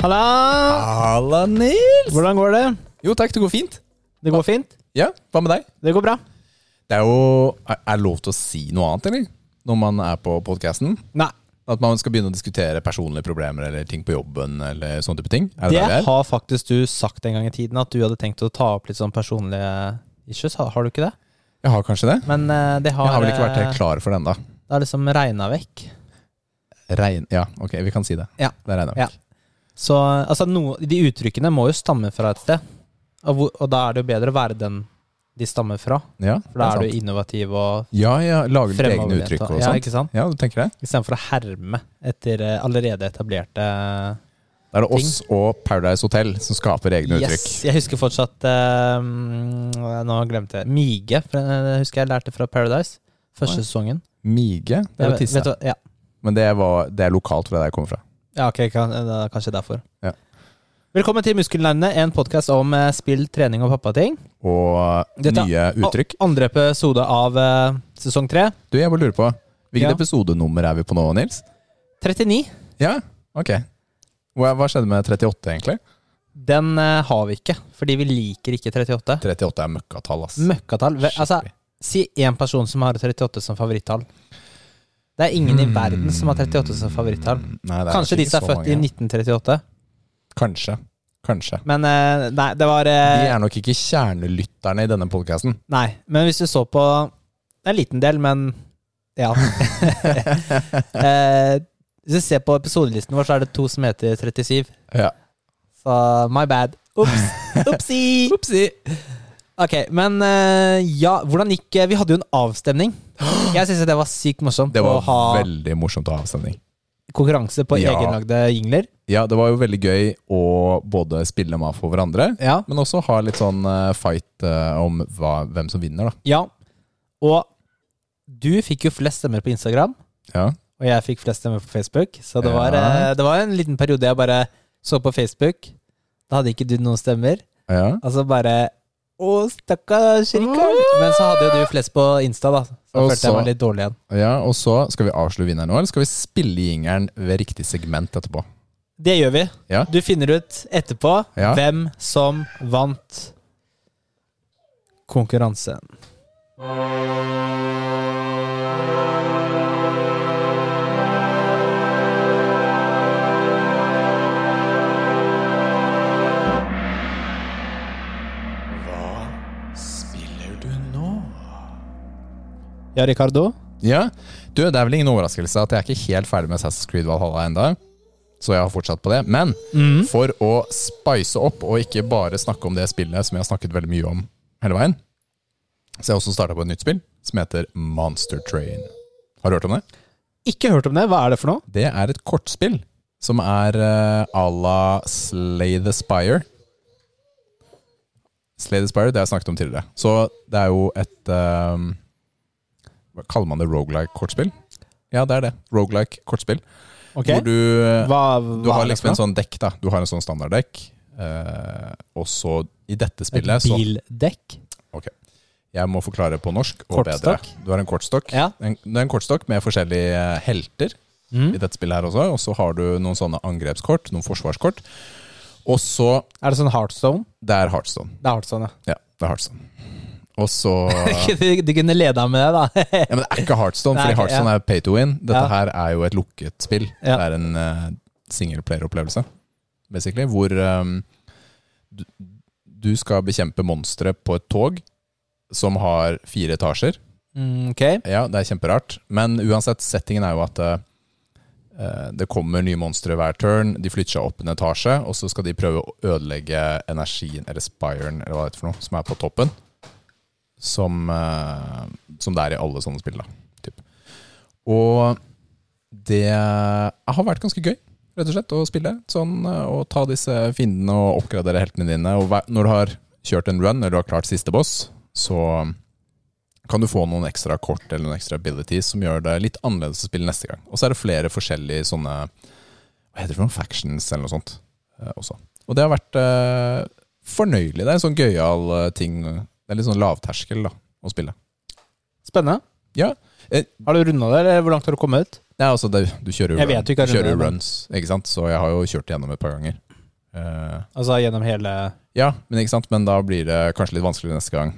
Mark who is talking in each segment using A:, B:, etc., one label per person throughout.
A: Halla!
B: Halla, Nils!
A: Hvordan går det?
B: Jo takk, det går fint.
A: Det går fint?
B: Ja, Hva med deg?
A: Det går bra.
B: Det er jo Er er lov til å si noe annet, eller? Når man er på podkasten?
A: Nei,
B: At man skal begynne å diskutere personlige problemer eller ting på jobben? eller sånne type ting? Er det
A: det
B: der vi er?
A: har faktisk du sagt en gang i tiden, at du hadde tenkt å ta opp litt sånn personlige issues. Har, har du ikke det?
B: Jeg har kanskje det?
A: Men eh, det har,
B: Jeg har vel ikke vært
A: eh,
B: helt klar for den, da.
A: Det har liksom regna vekk.
B: Regn... Ja, ok, vi kan si det.
A: Ja.
B: Det regner
A: Ja.
B: jeg med.
A: Så altså, no, de uttrykkene må jo stamme fra et sted. Og, hvor, og da er det jo bedre å være den de stammer fra.
B: Ja,
A: For da
B: det er
A: er du
B: sant.
A: innovativ og
B: Ja, ja, lager ditt egne
A: fremoverlent.
B: uttrykk og
A: ja,
B: sånt.
A: ikke sant?
B: Ja, du tenker det?
A: Istedenfor å herme etter eh, allerede etablerte
B: Da er det oss og Paradise Hotel som skaper egne uttrykk.
A: Yes, jeg husker fortsatt eh, Nå glemte jeg Mige, for, eh, husker jeg lærte fra Paradise. Første
B: Oi.
A: sesongen.
B: Mige, det er
A: Jeg
B: jo
A: vet-
B: tisse.
A: vet du hva- ja.
B: Men det, var, det er lokalt fra der jeg kommer fra.
A: ja, ok, kan, det er kanskje derfor.
B: Ja.
A: Velkommen til Muskelnerdene, en podkast om eh, spill, trening og pappating.
B: Og
A: Dette-
B: nye uttrykk.
A: Og Andre episode av eh, sesong tre.
B: Du, jeg bare lurer på Hvilket
A: Ja.
B: episodenummer er vi på nå, Nils?
A: 39.
B: Ja, ok Hva, hva skjedde med 38 egentlig?
A: Den eh, har vi ikke, fordi vi liker ikke 38.
B: 38 er møkkatall, ass
A: Møkkatall. Ve- Altså,
B: Skikkelig.
A: si én person som har 38 som favorittall. Det er
B: Hmm.
A: ingen i verden som har 38 som favorittall.
B: Mm, Nei, det er
A: Kanskje
B: ikke
A: de som er
B: så
A: født
B: mange.
A: i 1938.
B: Kanskje, kanskje
A: Men eh, nei, det var eh,
B: De er nok ikke kjernelytterne i denne podcasten
A: Nei, men hvis du så på En liten del, men ja. Eh, hvis du ser på episodelisten vår, så er det to som heter 37.
B: Ja
A: Så my bad. Ops. Opsi.
B: Upsi
A: Ok, men eh, ja, hvordan gikk eh, Vi hadde jo en avstemning. Jeg syns det var sykt morsomt
B: Det var
A: å ha
B: veldig morsomt å ha avstemning
A: konkurranse på
B: Ja.
A: egenlagde jingler.
B: Ja, det var jo veldig gøy å både spille med for hverandre
A: Ja.
B: Men også ha litt sånn eh, fight eh, om hva, hvem som vinner da
A: ja. Og du fikk jo flest stemmer på Instagram.
B: Ja,
A: Og jeg fikk flest stemmer på Facebook. Så det,
B: Ja.
A: var, eh, det var en liten periode jeg bare så på Facebook. Da hadde ikke du noen stemmer.
B: ja
A: Og så bare Å, stakkars Rikard! Men så hadde jo du flest på Insta, da. Så
B: Og
A: følte jeg
B: så-
A: meg litt dårlig igjen.
B: Ja, og så skal vi avsløre vinneren nå, eller skal vi spille jingeren ved riktig segment etterpå?
A: Det gjør vi.
B: Ja.
A: Du finner ut etterpå
B: Ja.
A: hvem som vant konkurransen. Ja, Ricardo.
B: Ja. Du, det er vel ingen overraskelse at jeg er ikke helt ferdig med Assassin's Creed Valhalla enda, så jeg har fortsatt på det. Men for å spice opp og ikke bare snakke om det spillet som jeg har snakket veldig mye om hele veien, så jeg har også startet på et nytt spill som heter Monster Train. Har du hørt om det?
A: Ikke hørt om det. Hva er det for noe?
B: Det er et kortspill som er eh, à la Slay the Spire. Slay the Spire, det har jeg snakket om tidligere. Så det er jo et eh, Hva kaller man det? Rogelike-kortspill? Ja, det er det. Rogelike-kortspill.
A: Ok.
B: Hvor du eh,
A: hva,
B: du
A: hva
B: har
A: er det
B: liksom
A: for
B: en
A: noe?
B: sånn dekk, da. Du har en sånn standarddekk. eh, og så, i dette spillet, sånn så
A: Bildekk?
B: Ok. Jeg må forklare på norsk og
A: Kortstokk.
B: bedre. Du har en kortstokk.
A: Ja.
B: En, det er en kortstokk med forskjellige eh, helter
A: Mm.
B: i dette spillet her også. Og så har du noen sånne angrepskort, noen forsvarskort. Og så
A: Er det sånn Heartstone?
B: Det er Heartstone.
A: Det er Heartstone, ja.
B: Ja, det er Heartstone. Og så Ja,
A: du, du kunne leda med det, da.
B: men det er ikke Heartstone,
A: Nei,
B: fordi
A: ok,
B: Heartstone er pay to win. Dette
A: Ja.
B: her er jo et lukket spill.
A: Ja.
B: Det er en uh, singleplayer-opplevelse, basically, hvor eh, du, du skal bekjempe monstre på et tog som har fire etasjer.
A: Mm, ok.
B: Ja, det er kjemperart. Men uansett, settingen er jo at eh, det kommer nye monstre hver turn. De flytter seg opp en etasje, og så skal de prøve å ødelegge energien, eller spiren, eller hva det er for noe, som er på toppen. Som, eh, som det er i alle sånne spill, da. Typ. Og det har vært ganske gøy, rett og slett, å spille sånn. eh, Og ta disse fiendene og oppgradere heltene dine. Og hver- når du har kjørt en run, eller du har klart siste boss, så kan du få noen ekstra kort eller noen ekstra abilities som gjør det litt annerledes å spille neste gang. Og så er det flere forskjellige sånne Hva heter det for noen factions eller noe sånt eh, også. Og det har vært eh, fornøyelig. Det er en sånn gøyal eh, ting. Det er litt sånn lavterskel da, å spille.
A: Spennende.
B: Ja. eh,
A: Har du runda det, eller hvor langt har du kommet?
B: Nei, altså, det, du kjører jo
A: Jeg vet jo ikke hva
B: du kjører jo
A: runden er, men-
B: runs, ikke sant? så jeg har jo kjørt gjennom et par ganger. Eh,
A: Altså gjennom hele
B: ja, men ikke sant? Men da blir det kanskje litt vanskeligere neste gang.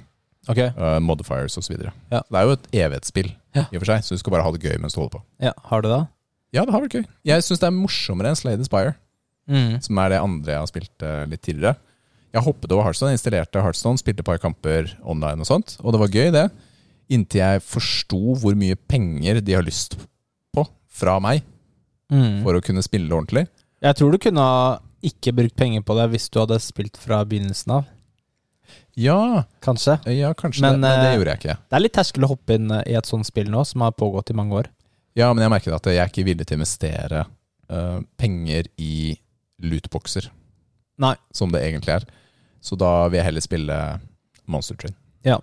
A: Ok.
B: Uh, modifiers osv.
A: Ja.
B: Det er jo et evighetsspill,
A: Ja.
B: i og for seg, så du skal bare ha det gøy mens du holder på.
A: Ja, har du det?
B: Ja, det har vært gøy. Jeg syns det er morsommere enn Slade Aspire,
A: Mm.
B: som er det andre jeg har spilt eh, litt tidligere. Jeg hoppet over Heartstone, installerte Heartstone, spilte et par kamper online og sånt, og det var gøy, det. Inntil jeg forsto hvor mye penger de har lyst på fra meg for å kunne spille ordentlig.
A: Mm. Jeg tror du kunne ha ikke brukt penger på det hvis du hadde spilt fra begynnelsen av,
B: Ja,
A: kanskje.
B: ja kanskje
A: Men,
B: det, men det
A: eh,
B: gjorde jeg ikke.
A: Det er litt terskel å hoppe inn eh, i et sånt spill nå, som har pågått i mange år.
B: Ja, men jeg merket at jeg er ikke villig til å investere eh, penger i lootboxer.
A: Nei.
B: Som det egentlig er. Så da vil jeg heller spille Monster Train.
A: Ja.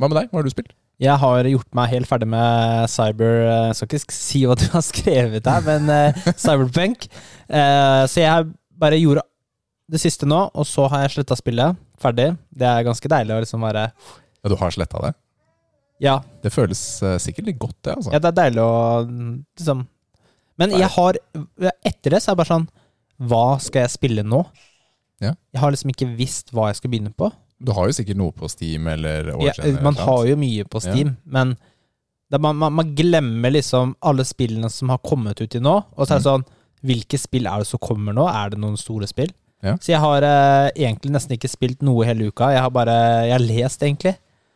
B: Hva med deg? Hva har du spilt?
A: Jeg har gjort meg helt ferdig med cyber Jeg skal ikke sk- si hva du har skrevet her, men eh, cyberpunk. Eh, så jeg bare gjorde det siste nå, og så har jeg sletta spillet. Ferdig. Det er ganske deilig å liksom være
B: Ja, du har sletta det?
A: Ja,
B: Det føles eh, sikkert litt godt, det. altså.
A: ja det er deilig å mm, liksom Men jeg har Etter det så er jeg bare sånn Hva skal jeg spille nå?
B: Ja.
A: Jeg har liksom ikke visst hva jeg skal begynne på.
B: Du har jo sikkert noe på Steam eller
A: Ja,
B: Origin. eller
A: man
B: noe
A: har
B: annet.
A: jo mye på Steam, men det, er- man, man, man glemmer liksom alle spillene som har kommet ut til nå. Og så
B: Mm.
A: er det sånn Hvilke spill er det som kommer nå? Er det noen store spill?
B: Ja.
A: Så jeg har eh, egentlig nesten ikke spilt noe hele uka. Jeg har bare Jeg har lest, egentlig.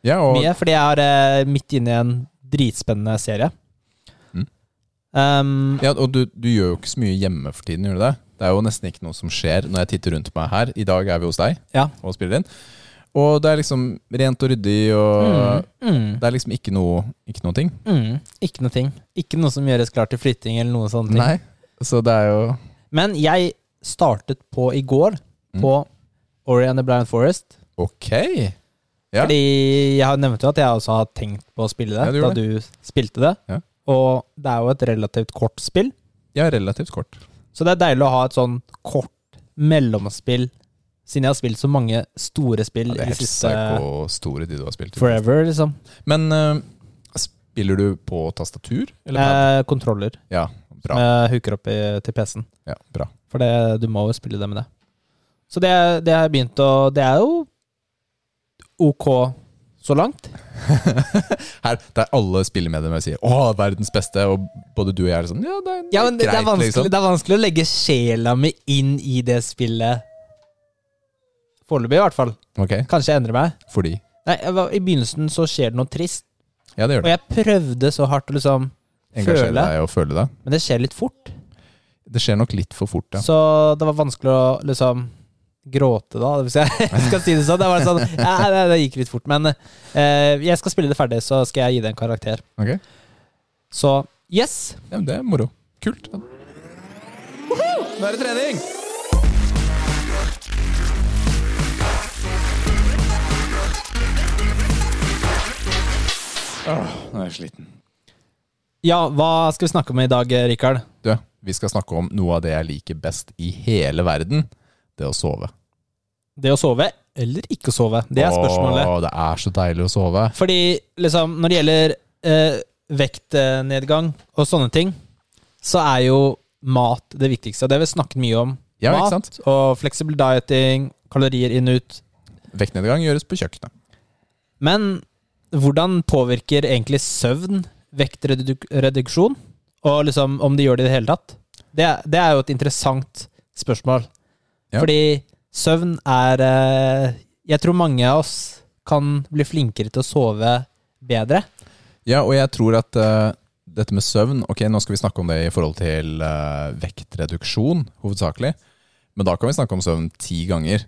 B: ja, og,
A: Mye, fordi jeg er eh, midt inne i en dritspennende serie.
B: Mm.
A: Um,
B: ja, og du, du gjør jo ikke så mye hjemme for tiden, gjør du det? Det er jo nesten ikke noe som skjer når jeg titter rundt meg her. I dag er vi hos deg
A: Ja.
B: og spiller inn. Og det er liksom rent og ryddig, og
A: mm,
B: det er liksom ikke noe, ikke noe ting.
A: mm, ikke noe ting. Ikke noe som gjøres klar til flytting eller noe sånne ting.
B: Nei, så det er jo
A: Men jeg startet på i går
B: Mm.
A: på Ori and the Blind Forest.
B: Ok. Ja.
A: Fordi jeg har nevnt jo at jeg også har tenkt på å spille
B: Ja,
A: det
B: du gjorde
A: da du spilte det.
B: Ja.
A: Og det er jo et relativt kort spill,
B: Ja, relativt kort.
A: så det er deilig å ha et sånn kort mellomspill, siden jeg har spilt så mange store spill
B: Ja, det er
A: i
B: helt
A: siste
B: psyko-store de du har spilt. i.
A: Forever, liksom.
B: Men eh, spiller du på tastatur? Eller pad?
A: Eh, kontroller
B: Ja, bra.
A: med hooker opp i, til PC-en.
B: Ja, bra.
A: For det, du må jo spille det med det. Så det, det har jeg begynt å Det er jo OK så langt.
B: Her, der alle spillemedier sier 'Å, verdens beste', og både du og jeg er sånn Ja, det er,
A: Ja, men det, det, er
B: greit,
A: vanskelig,
B: liksom.
A: det er vanskelig å legge sjela mi inn i det spillet. Foreløpig, i hvert fall.
B: Ok,
A: Kanskje jeg endrer meg.
B: fordi
A: Nei, jeg var, I begynnelsen så skjer det noe trist,
B: Ja, det
A: og
B: gjør det.
A: jeg prøvde så hardt å liksom
B: Engasjere
A: føle.
B: deg og føle det.
A: Men det skjer litt fort.
B: Det skjer nok litt for fort, ja.
A: Så det var vanskelig å liksom gråte, da, hvis jeg skal si det sånn. Det, var sånn ja, det, det gikk litt fort. Men eh, jeg skal spille det ferdig, så skal jeg gi det en karakter.
B: Ok.
A: Så yes!
B: Ja, men det er moro. Kult. Ja. Nå er det trening! Åh, nå er jeg sliten.
A: Ja, hva skal vi snakke om i dag, Rikard?
B: Du, vi skal snakke om noe av det jeg liker best i hele verden. Det å sove.
A: Det å sove eller ikke sove? Det er spørsmålet.
B: Åh, det er så deilig å sove.
A: Fordi liksom, når det gjelder eh, vektnedgang og sånne ting, så er jo mat det viktigste. Og det har vi snakket mye om.
B: Ja, ikke
A: mat
B: sant?
A: og fleksibel dieting, kalorier inn og ut.
B: Vektnedgang gjøres på kjøkkenet.
A: Men hvordan påvirker egentlig søvn vektreduksjon? Og liksom om de gjør det i det hele tatt? Det, er- det er jo et interessant spørsmål.
B: Ja.
A: Fordi søvn er eh, Jeg tror mange av oss kan bli flinkere til å sove bedre.
B: Ja, og jeg tror at eh, dette med søvn Ok, nå skal vi snakke om det i forhold til eh, vektreduksjon, hovedsakelig. Men da kan vi snakke om søvn ti ganger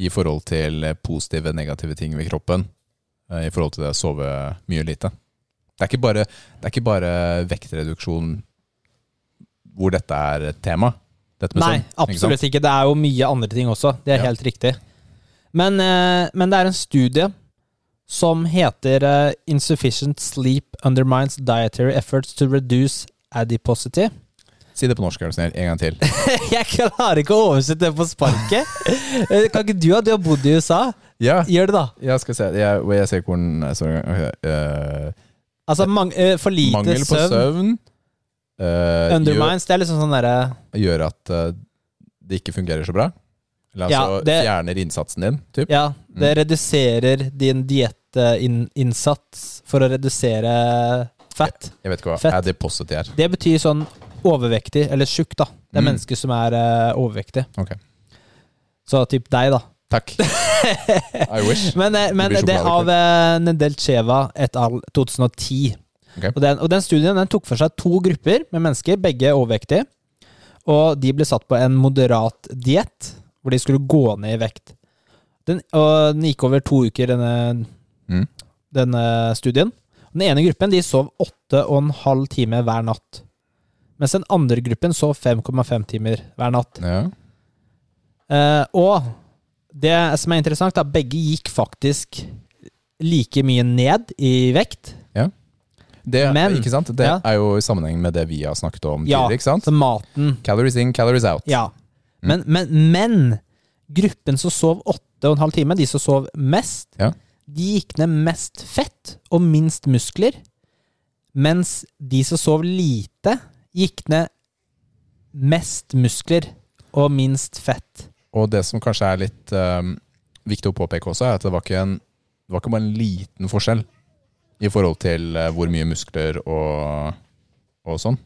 B: i forhold til eh, positive, negative ting ved kroppen. eh, I forhold til det å sove mye lite. Det er ikke bare, det er ikke bare vektreduksjon hvor dette er et tema. Dette med
A: Nei,
B: søvn. ikke sant?
A: absolutt ikke. Det er jo mye andre ting også. Det er
B: Ja.
A: helt riktig. Men, eh, men det er en studie som heter eh, Insufficient sleep undermines dietary efforts to reduce adiposity.
B: Si det på norsk, er du snill. En gang til.
A: Jeg klarer ikke å oversette det på sparket. Eh, kan ikke du at du har bodd i USA?
B: Ja,
A: Gjør det, da.
B: jeg skal se. Jeg, jeg ser hvor den så, ok, eh,
A: Altså, mang eh, for lite
B: Mangel på
A: søvn,
B: søvn eh, gjør-
A: undermines, det er liksom sånn derre
B: gjør at eh, det ikke fungerer så bra. Eller
A: Ja,
B: altså
A: det-
B: fjerner innsatsen din, typ.
A: Ja, det
B: Mm.
A: reduserer din diettinnsats for å redusere fett.
B: Jeg vet ikke hva
A: Fett.
B: adiposity er.
A: Det betyr sånn overvektig, eller tjukk, da. Det er
B: Mm.
A: mennesker som er eh, overvektige.
B: Ok.
A: Så typ deg, da.
B: Takk. I wish.
A: Men, eh, men
B: blir
A: det er
B: sjokolade
A: av eh, Nendel Cheva et al. 2010.
B: Ok.
A: Og, den, og den studien den tok for seg to grupper med mennesker, begge overvektige. Og de ble satt på en moderat diett, hvor de skulle gå ned i vekt. Den, og den gikk over to uker, denne,
B: Mm.
A: denne studien. Den ene gruppen de sov åtte og en halv time hver natt. Mens den andre gruppen sov 5,5 timer hver natt.
B: Ja.
A: Eh, og det som er interessant, er at begge gikk faktisk like mye ned i vekt.
B: Det,
A: Men-
B: ikke sant? det
A: ja.
B: er jo i sammenheng med det vi har snakket om
A: Ja,
B: tidligere. ikke sant? Mm.
A: Så maten
B: Calories in, calories out.
A: Ja. Men, men, men gruppen som sov åtte og en halv time, de som sov mest,
B: Ja.
A: de gikk ned mest fett og minst muskler. Mens de som sov lite, gikk ned mest muskler og minst fett.
B: Og det som kanskje er litt ehm, viktig å påpeke også, er at det var ikke, en, det var ikke bare en liten forskjell i forhold til eh, hvor mye muskler og, og sånn.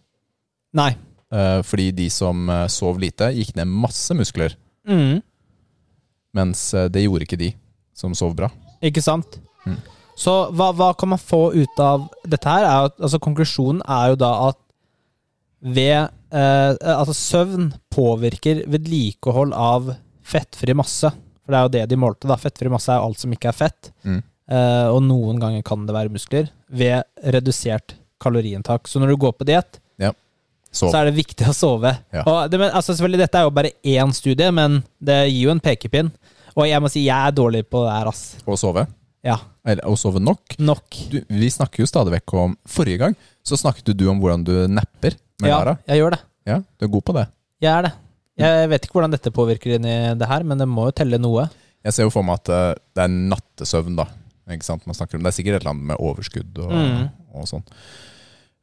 A: Nei.
B: Eh, fordi de som eh, sov lite, gikk ned masse muskler,
A: Mm.
B: mens eh, det gjorde ikke de som sov bra.
A: Ikke sant?
B: Mm.
A: Så hva, hva kan man få ut av dette her? Er jo, at- altså, konklusjonen er jo da at ved eh, Altså søvn påvirker vedlikehold av fettfri masse. For det er jo det de målte. da Fettfri masse er jo alt som ikke er fett.
B: Mm.
A: Eh, og noen ganger kan det være muskler. Ved redusert kaloriinntak. Så når du går på diett,
B: Sov.
A: så er det viktig å sove.
B: Ja.
A: Og det, men, altså, selvfølgelig, dette er jo bare én studie, men det gir jo en pekepinn. Og jeg må si jeg er dårlig på det her, ass.
B: Og sove.
A: Ja.
B: Eller og sove nok.
A: Nok.
B: Du, vi snakker jo stadig vekk om Forrige gang så snakket du om hvordan du napper med
A: ja,
B: Lara.
A: jeg gjør det.
B: Ja, du er god på det.
A: Jeg er det. Jeg vet ikke hvordan dette påvirker inn i det her, men det må jo telle noe.
B: Jeg ser jo for meg at eh, det er nattesøvn, da. Ikke sant? Man snakker om. Det er sikkert et eller annet med overskudd og,
A: Mm.
B: og sånn.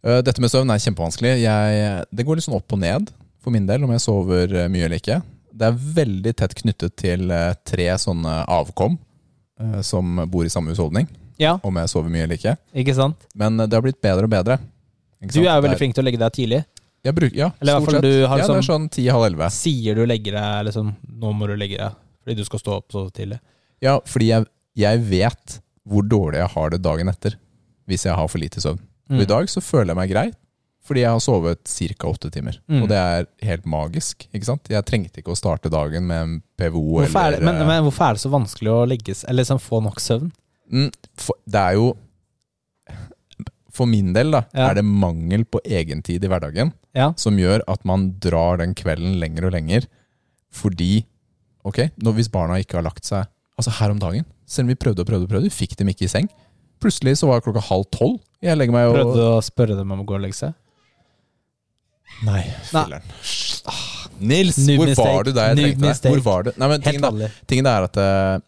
B: Eh, Dette med søvn er kjempevanskelig. Jeg, det går litt sånn opp og ned for min del om jeg sover eh, mye eller ikke. Det er veldig tett knyttet til eh, tre sånne avkom eh, som bor i samme husholdning,
A: Ja,
B: om jeg sover mye eller ikke.
A: ikke sant?
B: Men eh, det har blitt bedre og bedre.
A: Du
B: Ikke sant?
A: er jo
B: Det
A: veldig flink til å legge deg tidlig.
B: Jeg bruk, ja,
A: Eller i hvert
B: stort
A: fall
B: sett.
A: du har
B: ja, det er sånn ti-halv elleve.
A: Sier du legger deg liksom Nå må du legge deg fordi du skal stå opp så tidlig.
B: Ja, fordi jeg, jeg vet hvor dårlig jeg har det dagen etter hvis jeg har for lite søvn. Og I
A: Mm.
B: dag så føler jeg meg grei, fordi jeg har sovet ca. åtte timer.
A: Mm.
B: Og det er helt magisk. ikke sant? Jeg trengte ikke å starte dagen med en PVO
A: Hvorfor er, det,
B: eller
A: men, men hvorfor er det så vanskelig å legges, eller liksom få nok søvn?
B: Mm, for, Det er jo For min del da,
A: Ja.
B: er det mangel på egentid i hverdagen
A: Ja.
B: som gjør at man drar den kvelden lenger og lenger. Fordi Ok, nå hvis barna ikke har lagt seg Altså her om dagen, selv om vi prøvde og prøvde, og prøvde fikk dem ikke i seng. Plutselig så var klokka halv tolv. Jeg legger meg og
A: Prøvde du å spørre dem om å gå og legge seg?
B: Nei, filler'n. Nils,
A: New
B: hvor
A: mistake.
B: var du der jeg
A: New
B: trengte deg?
A: mistake.
B: Hvor var du? Nei, men
A: Helt
B: tingen, da,
A: vanlig.
B: tingen da er at eh,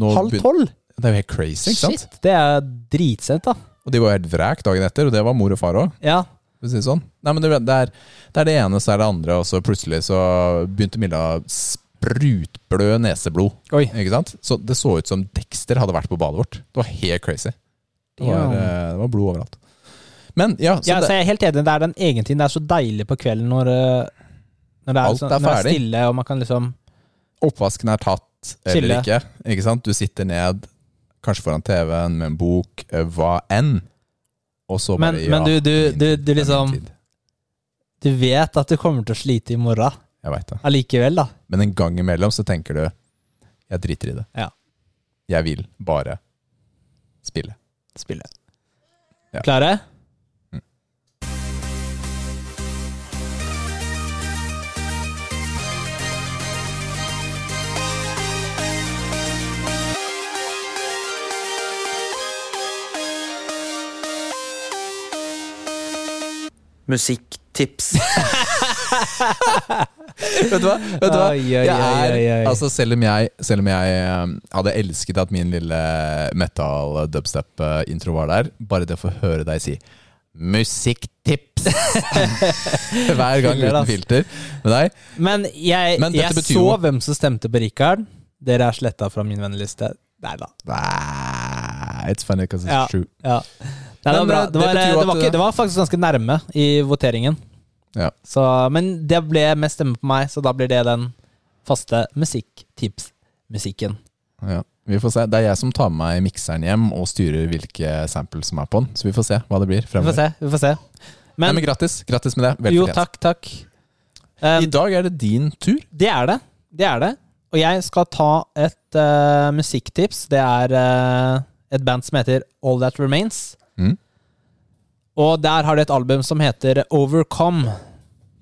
B: nå
A: Halv
B: begyn-
A: tolv?
B: Det er jo helt crazy, ikke sant?
A: Shit, det er dritsent, da.
B: Og de var helt vræk dagen etter, og det var mor og far òg.
A: Ja.
B: For å si det sånn. Nei, men det, det, er, det er det ene, så er det andre, og så plutselig så begynte Milla å sprutblø neseblod.
A: Oi.
B: Ikke sant? Så det så ut som Dexter hadde vært på badet vårt. Det var helt crazy. Det var,
A: Damn.
B: eh, det var blod overalt. Men ja, så
A: ja,
B: det,
A: så jeg er helt enig. Det er den egentiden. Det er så deilig på kvelden når, eh, når det er,
B: Alt
A: sånn,
B: er
A: når det er
B: ferdig.
A: stille, og man kan liksom
B: oppvasken er tatt eller
A: Chille.
B: ikke. Ikke sant? Du sitter ned, kanskje foran TV-en med en bok, eh, hva enn. Og så
A: Men-
B: bare
A: men du- du- du-
B: min tid,
A: du
B: det er min
A: liksom-
B: tid.
A: Du vet at du kommer til å slite i morgen
B: Jeg vet det.
A: allikevel, da.
B: Men en gang imellom så tenker du Jeg driter i det.
A: Ja.
B: Jeg vil bare spille.
A: Spille.
B: Ja.
A: Klare?
B: Mm.
C: Musikktips.
B: Vet du hva? Vet du hva?
A: Oi, oi,
B: Jeg
A: oi, oi,
B: er,
A: oi.
B: altså selv om jeg, selv om jeg eh, hadde elsket uh, at min lille metal dubstep-intro var der, bare det å få høre deg si Musikktips! Hver gang
A: Fyller,
B: uten
A: ass.
B: filter med deg.
A: Men jeg,
B: Men dette
A: jeg
B: betyr
A: så
B: jo-
A: hvem som stemte på Rikard. Dere er sletta fra min venneliste. Nei da.
B: Nah, It's funny because it's
A: Ja.
B: true.
A: Ja. Nei, det, var
B: Men,
A: bra.
B: eh,
A: Det, var,
B: det betyr
A: det,
B: jo
A: var
B: at-
A: ikke, det var faktisk ganske nærme i voteringen.
B: Ja.
A: Så, men det ble mest stemme på meg, så da blir det den faste musikktips-musikken.
B: Ja. Vi får se. Det er jeg som tar med meg mikseren hjem og styrer hvilke samples som er på den. Så vi får se hva det blir
A: Vi får
B: fremover.
A: se. Vi får se.
B: Nei,
A: Men
B: men grattis, grattis med det. Vel
A: jo,
B: fortjent.
A: takk, takk. Eh,
B: I dag er det din tur.
A: det er det. Det er det. Og jeg skal ta et eh, musikktips. Det er eh, et band som heter All That Remains.
B: Mm.
A: Og der har de et album som heter Overcome.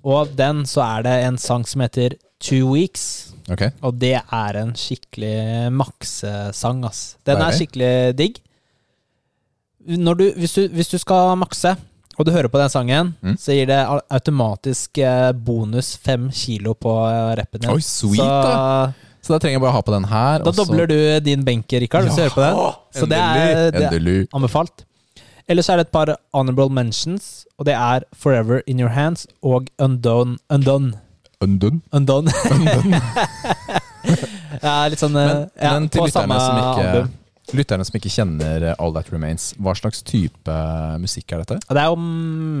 A: Og av den så er det en sang som heter Two Weeks.
B: Ok.
A: Og det er en skikkelig maksesang, ass. Den er
B: Deilig.
A: skikkelig digg. Når du, hvis, du, hvis du skal makse, og du hører på den sangen,
B: Mm.
A: så gir det au- automatisk eh, bonus fem kilo på eh, rappen din.
B: Oi, sweet,
A: så
B: da. Så da trenger jeg bare ha på den her.
A: da dobler du din benk, Rikard, hvis du hører på den. Så det er, det er
B: Endelig.
A: anbefalt. Ellers er det et par honorable mentions, og det er Forever In Your Hands og Undone. Undone.
B: Undun.
A: Undone. ja, litt sånn eh,
B: Men,
A: ja,
B: men til
A: på
B: lytterne
A: samme
B: som, ikke,
A: album.
B: lytterne som ikke kjenner eh, All That Remains, hva slags type eh, musikk er dette?
A: Ja, Det er jo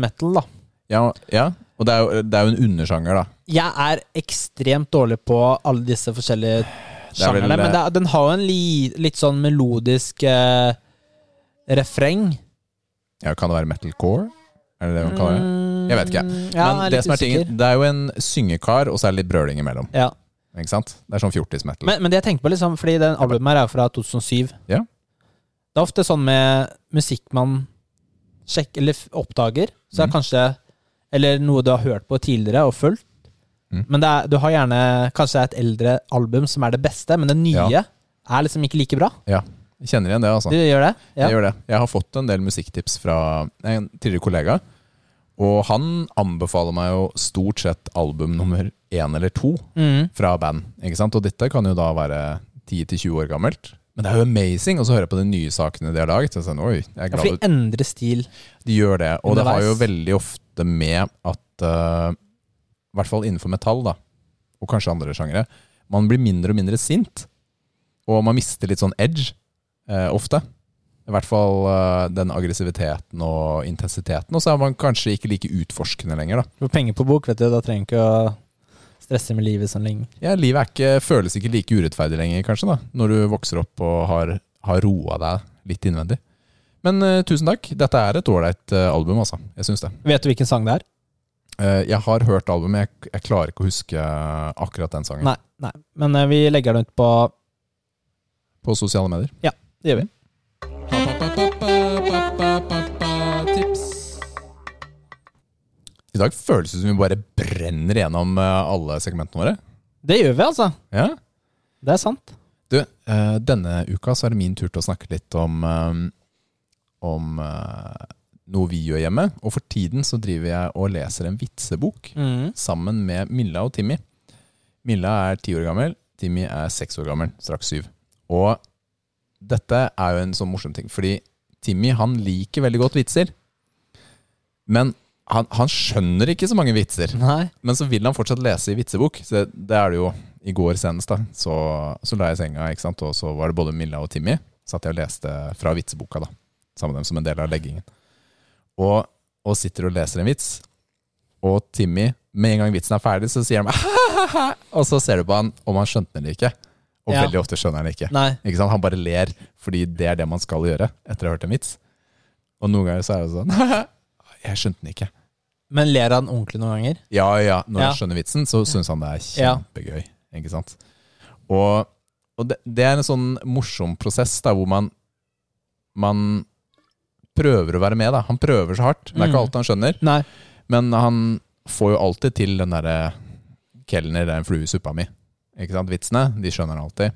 A: metal, da.
B: Ja, ja. og det er, jo, det er jo en undersjanger, da.
A: Jeg er ekstremt dårlig på alle disse forskjellige
B: Det er vel,
A: sjangerne, men det er, den har jo en li, litt sånn melodisk eh, refreng.
B: Ja, kan det være metalcore? Er det det man kaller det? Jeg vet ikke.
A: Mm, Ja, jeg
B: men
A: er
B: det
A: litt
B: som er tingen,
A: usikker.
B: det er jo en syngekar, og så er det litt brøling imellom.
A: Ja.
B: Ikke sant? Det er sånn fjortis-metal.
A: Men, men det jeg tenker på, liksom, fordi den albumet her er jo fra 2007.
B: Ja.
A: Det er ofte sånn med musikk man sjekker, eller f- oppdager, så er
B: Mm.
A: kanskje Eller noe du har hørt på tidligere og fulgt.
B: Mm.
A: Men det er, du har gjerne kanskje et eldre album som er det beste, men det nye
B: Ja.
A: er liksom ikke like bra.
B: Jeg Kjenner igjen det, altså.
A: Du gjør det? Ja.
B: Jeg gjør det. Jeg har fått en del musikktips fra en tidligere kollega. Og han anbefaler meg jo stort sett album nummer én eller to
A: Mm.
B: fra band. ikke sant? Og dette kan jo da være 10-20 år gammelt. Men det er jo amazing! Og så hører jeg på de nye sakene de har laget. Og sånn, Oi, jeg er
A: Ja,
B: glad
A: for de
B: ut.
A: endrer stil.
B: De gjør det. Og det har jo
A: Underveis.
B: veldig ofte med at eh, I hvert fall innenfor metall, da, og kanskje andre sjangere, man blir mindre og mindre sint. Og man mister litt sånn edge eh, ofte. I hvert fall eh, den aggressiviteten og intensiteten. Og så er man kanskje ikke like utforskende lenger, da.
A: Du får penger på bok, vet du. Da trenger du ikke å stresse med livet sånn lenge.
B: Ja, livet er ikke, føles ikke like urettferdig lenger, kanskje, da, når du vokser opp og har, har roa deg litt innvendig. Men eh, tusen takk. Dette er et ålreit eh, album, altså. Jeg syns det.
A: Vet du hvilken sang det er?
B: Eh, jeg har hørt albumet, jeg, jeg klarer ikke å huske eh, akkurat den sangen.
A: Nei. nei. Men eh, vi legger den ut på
B: På sosiale medier.
A: Det
B: Mhm.
A: gjør vi.
B: I dag føles det som vi bare brenner gjennom eh, alle segmentene våre.
A: Det gjør vi, altså.
B: Ja.
A: Det er sant.
B: Du, eh, denne uka så er det min tur til å snakke litt om, eh, om eh, noe vi gjør hjemme. Og for tiden så driver jeg og leser en vitsebok
A: Mm.
B: sammen med Milla og Timmy. Milla er ti år gammel, Timmy er seks år gammel, straks syv. Og dette er jo en sånn morsom ting, fordi Timmy han liker veldig godt vitser. Men han, han skjønner ikke så mange vitser.
A: Nei.
B: Men så vil han fortsatt lese i vitsebok. Så det er det jo i går senest. da Så, så la jeg senga, ikke sant? og så var det både Milla og Timmy. Satt jeg og leste fra vitseboka da sammen med dem som en del av leggingen. Og, og sitter og leser en vits, og Timmy, med en gang vitsen er ferdig, så sier han «Ahahaha», Og så ser du på han om han skjønte den eller ikke. Og
A: Ja.
B: veldig ofte skjønner han det ikke.
A: Nei.
B: Ikke sant? Han bare ler, fordi det er det man skal gjøre etter å ha hørt en vits. Og noen ganger så er det sånn Jeg skjønte den ikke.
A: Men ler han ordentlig noen ganger?
B: Ja, ja. Når
A: Ja.
B: han skjønner vitsen, så syns han det er
A: Ja.
B: kjempegøy. Ikke sant? Og, og det, det er en sånn morsom prosess da, hvor man, man prøver å være med. Da. Han prøver så hardt. Det er
A: Mm.
B: ikke alt han skjønner,
A: Nei.
B: men han får jo alltid til den derre 'kelner er en flue i suppa mi'. Ikke sant? Vitsene, de skjønner han alltid.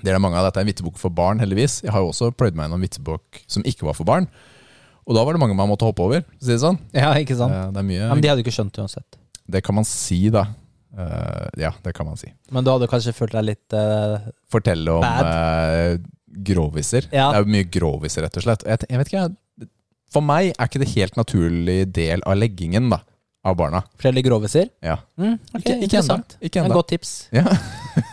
B: Det er det mange av. Dette er en vitsebok for barn, heldigvis. Jeg har jo også pløyd meg gjennom vitsebok som ikke var for barn. Og da var det mange man måtte hoppe over. for å Si det sånn.
A: Ja, ikke sant?
B: Eh, Det er mye
A: Ja, men de hadde jo ikke skjønt det uansett.
B: det kan man si, da. Eh, ja, det kan man si.
A: Men du hadde kanskje følt deg litt eh,
B: Fortelle om
A: Bad.
B: eh, groviser.
A: Ja.
B: Det er jo mye groviser, rett og slett. Jeg, te- jeg vet ikke, jeg- For meg er ikke det helt naturlig del av leggingen da, av barna.
A: Forskjellige groviser.
B: Ja.
A: Mm, ok,
B: Ikke- ikke
A: interessant.
B: enda. Ikke enda.
A: Et godt tips.
B: Ja.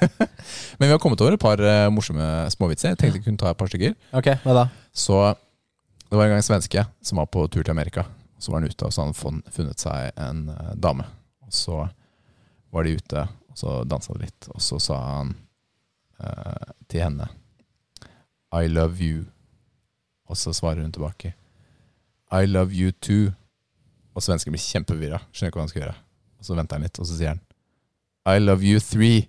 B: Men vi har kommet over et par eh, morsomme småvitser. Jeg tenkte jeg kunne ta et par stykker.
A: Ok, hva da?
B: Så det var en gang en svenske som var på tur til Amerika. Så var han ute, og så hadde han fun- funnet seg en eh, dame. Og så var de ute, og så dansa de litt. Og så sa han eh, til henne I love you. Og så svarer hun tilbake I love you too. Og svensken blir kjempevirra. Skjønner ikke hva han skal gjøre. Og så venter han litt, og så sier han I love you three.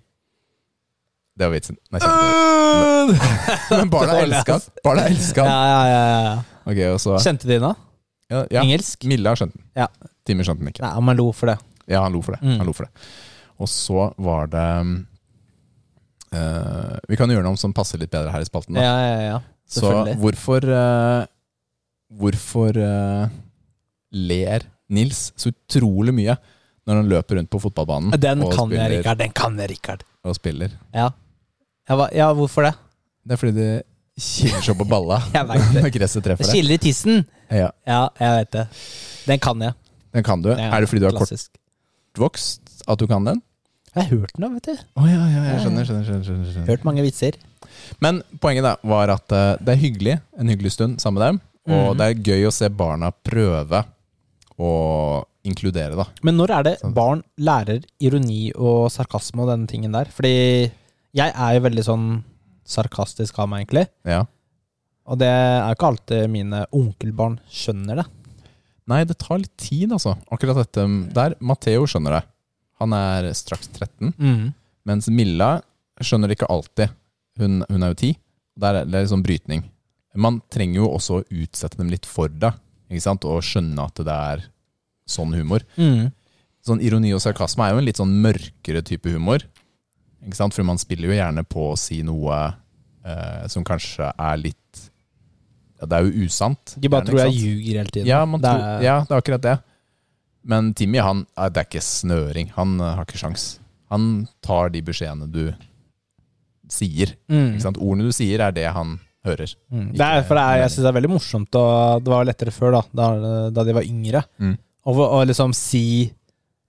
B: Det var vitsen. Nei, kjempe. Men barna
A: Dårlig,
B: elska
A: ass.
B: den. Barna elska
A: Ja,
B: den.
A: ja, ja, ja.
B: Ok, og så
A: Kjente de den da?
B: ja, ja.
A: Engelsk?
B: Mille har skjønt den.
A: Ja.
B: Timmy skjønte den ikke.
A: Nei, man lo for det.
B: Ja, han lo for det.
A: Mm.
B: Han lo for det. Og så var det um, eh, Vi kan gjøre noe som passer litt bedre her i spalten. Da.
A: Ja, ja, ja.
B: så
A: selvfølgelig.
B: hvorfor eh, Hvorfor eh, ler Nils så utrolig mye når han løper rundt på fotballbanen
A: ja. Den
B: Mm. og,
A: kan jeg,
B: spiller,
A: Rikard. Den kan jeg, Rikard.
B: og spiller?
A: Ja. Jeg var, ja, hvorfor det?
B: Det er fordi det kiler seg på balla
A: Jeg vet det.
B: når gresset
A: Det
B: treffer det.
A: kiler i tissen.
B: Ja,
A: Ja, jeg vet det. Den kan jeg.
B: den kan du.
A: Ja,
B: Er det fordi du er
A: klassisk.
B: kortvokst at du kan den?
A: Jeg har hørt den, da, vet du.
B: Å ja, ja, jeg
A: Ja, ja.
B: skjønner, skjønner, skjønner, skjønner, skjønner.
A: Hørt mange vitser.
B: Men poenget da var at eh, det er hyggelig, en hyggelig stund sammen med dem. Og
A: Mhm.
B: det er gøy å se barna prøve å inkludere, da.
A: Men når er det
B: Sant.
A: barn lærer ironi og sarkasme og denne tingen der? Fordi jeg er jo veldig sånn sarkastisk av meg, egentlig.
B: Ja.
A: Og det er jo ikke alltid mine onkelbarn skjønner det.
B: Nei, det tar litt tid, altså. Akkurat dette der. Matheo skjønner det. Han er straks 13. Mens Milla skjønner det ikke alltid. Hun, hun er jo 10. Der er det litt sånn brytning. Man trenger jo også å utsette dem litt for det, ikke sant? og skjønne at det er sånn humor.
A: Mm.
B: sånn ironi og sarkasme er jo en litt sånn mørkere type humor. Ikke sant? For man spiller jo gjerne på å si noe eh, som kanskje er litt ja, Det er jo usant.
A: De bare
B: gjerne,
A: tror
B: ikke
A: jeg
B: sant?
A: ljuger hele tiden.
B: ja, man
A: Det er-
B: tror, ja, det er akkurat det. Men Timmy, han, eh, det er ikke snøring. Han eh, har ikke sjans. Han tar de beskjedene du sier.
A: Mm.
B: Ikke sant? Ordene du sier, er det han hører.
A: Mm. Det er, for det er, jeg syns det er veldig morsomt, og det var jo lettere før, da, da, da de var yngre,
B: Mm.
A: å å liksom si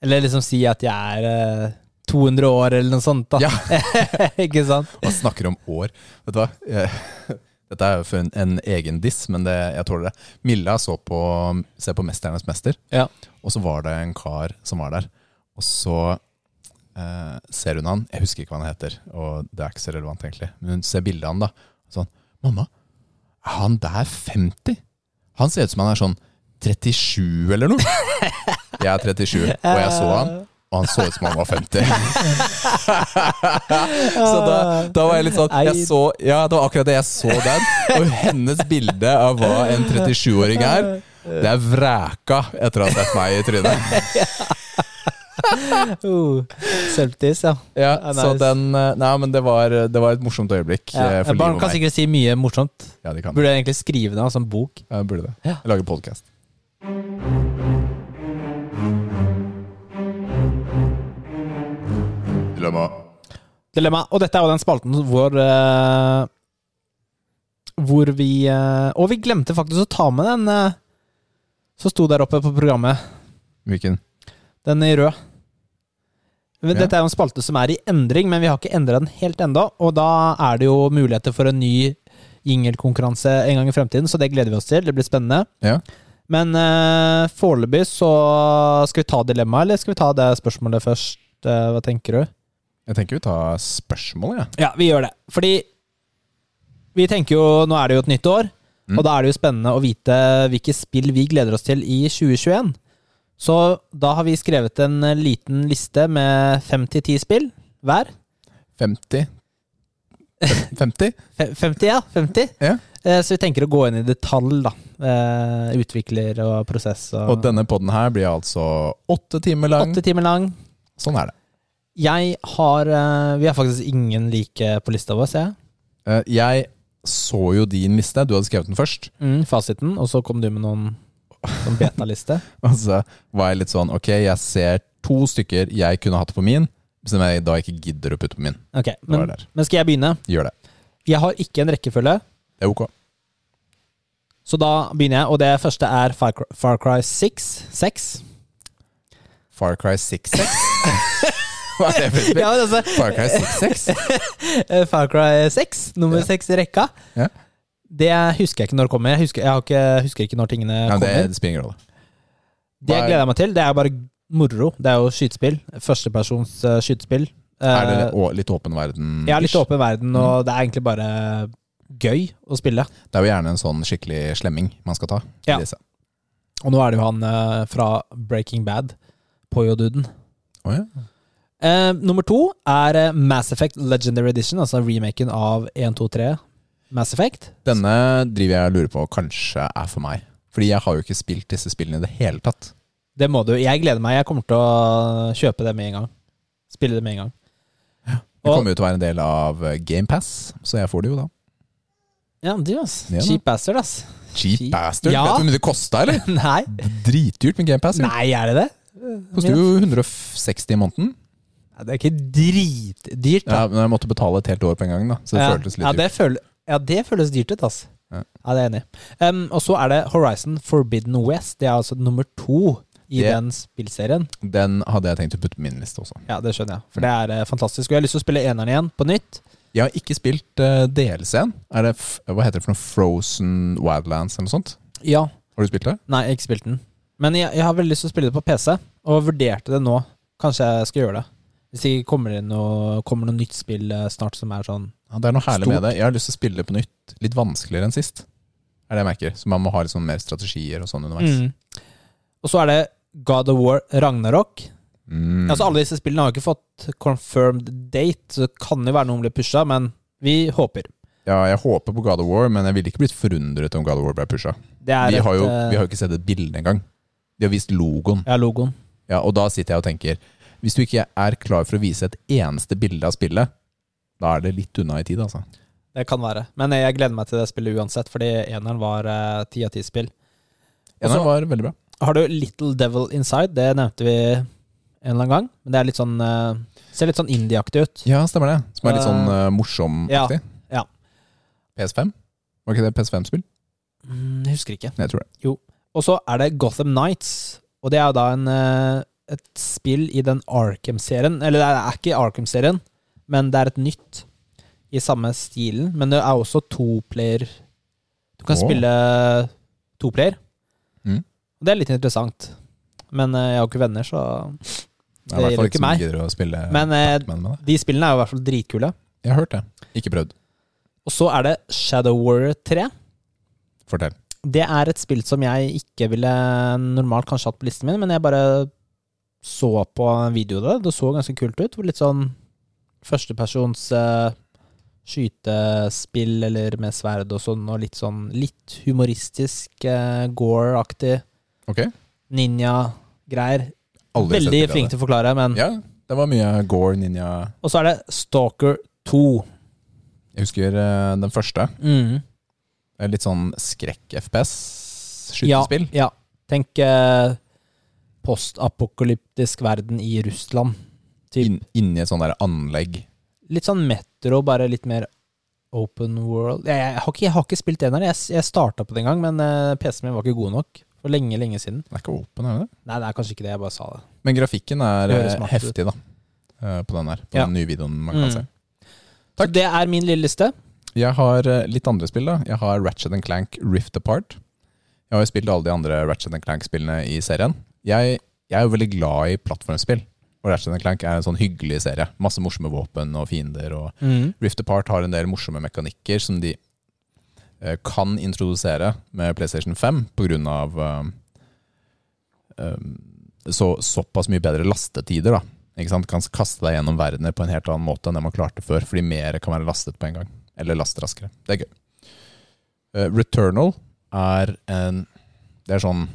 A: Eller liksom si at jeg er eh, 200 år, eller noe sånt, da.
B: Ja.
A: ikke sant?
B: Man snakker om år. Vet du hva? Eh, Dette er jo for en, en egen diss, men det, jeg tåler det. Milla så på, ser på 'Mesternes mester',
A: Ja.
B: og så var det en kar som var der. Og så eh, ser hun han, jeg husker ikke hva han heter, og det er ikke så relevant egentlig, men hun ser bildet av han da, og sånn 'Mamma, er han der 50?' Han ser ut som han er sånn 37 eller noe. Jeg er 37, og jeg så han, og han så ut som han var 50. Så da, da var jeg litt sånn jeg
A: Nei.
B: så, Ja, det var akkurat det. Jeg så den. Og hennes bilde av hva en 37-åring er, det er vræka etter å ha sett meg i trynet.
A: Oh, Selfties, ja.
B: Ja,
A: Ja,
B: så
A: nice.
B: den eh, Nei, men det var, det var et morsomt øyeblikk eh,
A: ja.
B: for
A: Barn
B: livet
A: kan
B: og meg.
A: sikkert si mye morsomt.
B: Ja, de kan.
A: Burde jeg egentlig skrive det av som bok?
B: Ja, de burde det.
A: Ja.
B: Jeg lager podkast. Dilemma.
A: Dilemma. Og dette er jo den spalten hvor eh, Hvor vi eh, Og vi glemte faktisk å ta med den eh, som sto der oppe på programmet.
B: Hvilken?
A: Den i rød. Men
B: Ja.
A: Dette er jo en spalte som er i endring, men vi har ikke endra den helt ennå. Og da er det jo muligheter for en ny jingelkonkurranse en gang i fremtiden, så det gleder vi oss til. Det blir spennende.
B: Ja.
A: Men uh, foreløpig så Skal vi ta dilemmaet, eller skal vi ta det spørsmålet først? Eh, hva tenker du?
B: Jeg tenker vi tar spørsmål, jeg. Ja.
A: Ja, vi gjør det. Fordi vi tenker jo Nå er det jo et nytt år,
B: Mm.
A: og da er det jo spennende å vite hvilke spill vi gleder oss til i 2021. Så da har vi skrevet en eh, liten liste med fem til ti spill hver.
B: 50? Fem- 50?
A: Fe- 50, ja. 50.
B: Ja.
A: Eh, Så vi tenker å gå inn i detalj, da. Eh, Utvikler og prosess
B: Og
A: og
B: denne podden her blir altså åtte timer lang.
A: Åtte timer lang.
B: Sånn er det.
A: Jeg har eh, Vi har faktisk ingen like på lista vår, ser jeg.
B: Eh, Jeg så jo din liste, du hadde skrevet den først.
A: Mm, fasiten. Og så kom du med noen sånn betaliste.
B: Og så var jeg litt sånn, ok, jeg ser to stykker jeg kunne hatt på min, som jeg da ikke gidder å putte på min.
A: Ok,
B: var
A: men,
B: det der.
A: men skal jeg begynne?
B: Gjør det.
A: Jeg har ikke en rekkefølge.
B: Det er ok.
A: Så da begynner jeg, og det første er Far Cry, Far Cry 6. 6.
B: Far Cry 66? Hva er det for spill?
A: Ja, men altså,
B: Far Cry 66?
A: eh, Far Cry 6, nummer
B: Ja.
A: 6 i rekka.
B: Ja.
A: Det husker jeg ikke når det kommer. Jeg husker, jeg har ikke, husker ikke når tingene
B: Ja, men det,
A: kommer.
B: det spiller ingen rolle.
A: Det jeg gleder jeg meg til, det er bare moro. Det er jo skytespill. Førstepersons eh, skytespill.
B: Er det Mm.
A: Eh,
B: å- litt åpen verden?
A: Jeg har litt
B: ish?
A: åpen verden, og det er egentlig bare gøy å spille.
B: Det er jo gjerne en sånn skikkelig slemming man skal ta. i
A: Ja.
B: disse.
A: Og nå er det jo han eh, fra Breaking Bad, Poyo-duden.
B: Å ja.
A: Eh, nummer to er eh, Mass Effect Legendary Edition, altså remaken av 1, 2, 3. Mass Effect.
B: Denne driver jeg og lurer på kanskje er for meg. Fordi jeg har jo ikke spilt disse spillene i det hele tatt.
A: Det må du. Jeg gleder meg. Jeg kommer til å kjøpe det med en gang. Spille det med en gang.
B: Det
A: Og-
B: kommer jo til å være en del av GamePass, så jeg får det jo da.
A: Ja, du, ass.
B: Ja da.
A: Cheap bastard, ass.
B: Cheap
A: Cheap.
B: bastard!
A: Ja.
B: Vet du hvor mye det kosta, eller?
A: Nei.
B: Dritdyrt med GamePass. Det
A: Nei, er det det?
B: koster jo 160 i måneden.
A: Ja, Det er ikke dritdyrt, da.
B: Ja, men jeg måtte betale et helt år på en gang, da. Så det føltes litt
A: ja,
B: dyrt.
A: det føl ja, det føles dyrt ut, ass. Ja,
B: Ja.
A: det er jeg enig i. Um, og så er det Horizon Forbidden West. Det er altså nummer to i
B: Det-
A: den spillserien.
B: Den hadde jeg tenkt å putte på min liste også.
A: Ja, det skjønner jeg. For det er eh, fantastisk. Og jeg har lyst til å spille eneren igjen, på nytt.
B: Jeg har ikke spilt uh, DLC-en. Er det f Hva heter det for noe? Frozen Wildlands eller noe sånt?
A: Ja.
B: Har du spilt det?
A: Nei, jeg har ikke spilt den. Men jeg, jeg har veldig lyst til å spille det på PC, og vurderte det nå. Kanskje jeg skal gjøre det. Hvis det ikke kommer det noe, kommer noe nytt spill eh, snart som er sånn
B: Ja, det er noe herlig
A: Stort.
B: med det. Jeg har lyst til å spille det på nytt. Litt vanskeligere enn sist. Er det jeg merker. Så man må ha litt sånn mer strategier og sånn underveis.
A: mm. Og så er det God of War Ragnarok.
B: Mm.
A: Altså Alle disse spillene har jo ikke fått confirmed date, så det kan jo være noen blir pusha, men vi håper.
B: Ja, jeg håper på God of War, men jeg ville ikke blitt forundret om God of War ble pusha.
A: Det er
B: Vi har jo
A: et, eh,
B: vi har jo ikke sett et bilde engang. De har vist logoen.
A: Ja, logoen.
B: Ja, og da sitter jeg og tenker Hvis du ikke er klar for å vise et eneste bilde av spillet, da er det litt unna i tid, altså.
A: Det kan være. Men jeg gleder meg til det spillet uansett, fordi eneren var eh, ti av ti-spill. Og
B: Den
A: så
B: var veldig bra.
A: har du Little Devil Inside, det nevnte vi en eller annen gang. Men det er litt sånn eh, Ser litt sånn indieaktig ut.
B: Ja, stemmer det. Som er litt sånn
A: Eh,
B: uh, morsom-aktig.
A: ja, ja.
B: PS5? Var ikke det PS5-spill?
A: Mm, husker ikke.
B: Jeg tror det.
A: Og så er det Gotham Nights. Og det er jo da en, eh, et spill i den Arkham-serien. Eller det er ikke Arkham-serien, men det er et nytt i samme stilen. Men det er også toplayer. Du kan
B: Åh.
A: spille toplayer.
B: Mm.
A: Og det er litt interessant. Men eh, jeg har jo ikke venner, så
B: Det er
A: gjelder
B: i hvert fall ikke
A: ikke
B: som
A: meg.
B: gidder å spille
A: Men eh,
B: Batman med det.
A: de spillene er jo i hvert fall dritkule.
B: Jeg har hørt det. Ikke prøvd.
A: Og så er det Shadow Warrior 3.
B: Fortell.
A: Det er et spill som jeg ikke ville normalt kanskje hatt på listen min, men jeg bare så på en video av det. Det så ganske kult ut. Hvor litt sånn førstepersons eh, skytespill eller med sverd og sånn, og litt sånn litt humoristisk eh, gore-aktig
B: Ok?
A: ninja-greier.
B: Aldri sett
A: Veldig
B: bilde av
A: flink
B: det.
A: til å forklare, men
B: Ja, det var mye gore, ninja
A: Og så er det Stalker 2.
B: Jeg husker eh, den første.
A: Mm.
B: Det er Litt sånn skrekk-FPS. Skytespill.
A: Ja, ja. Tenk eh, postapokalyptisk verden i Russland. Typ.
B: Inn- Inni et sånn der anlegg.
A: Litt sånn metro, bare litt mer open world. Jeg, jeg, har, ikke, jeg har ikke spilt eneren. Jeg, jeg starta på det en gang, men eh, PC-en min var ikke god nok. For lenge, lenge siden.
B: Det er ikke åpen, er det?
A: Nei, det er kanskje ikke det. Jeg bare sa det.
B: Men grafikken er
A: Det høres
B: eh,
A: smart ut.
B: heftig, da. eh, På den her. På
A: Ja.
B: den nye videoen man kan
A: Mm.
B: se. Takk.
A: Så det er min lille liste.
B: Jeg har eh, litt andre spill, da. Jeg har Ratchet Clank Rift Apart. Jeg har jo spilt alle de andre Ratchet Clank-spillene i serien. Jeg, jeg er jo veldig glad i plattformspill. Og Ratchet Clank er en sånn hyggelig serie. Masse morsomme våpen og fiender og Rift Apart har en del morsomme mekanikker som de eh, kan introdusere med PlayStation 5 pga. eh, Ehm, så, såpass mye bedre lastetider. da ikke sant? Kan kaste deg gjennom verdener på en helt annen måte enn det man klarte før, fordi mer kan være lastet på en gang. Eller last raskere. Det er gøy. Eh, Returnal er en Det er sånn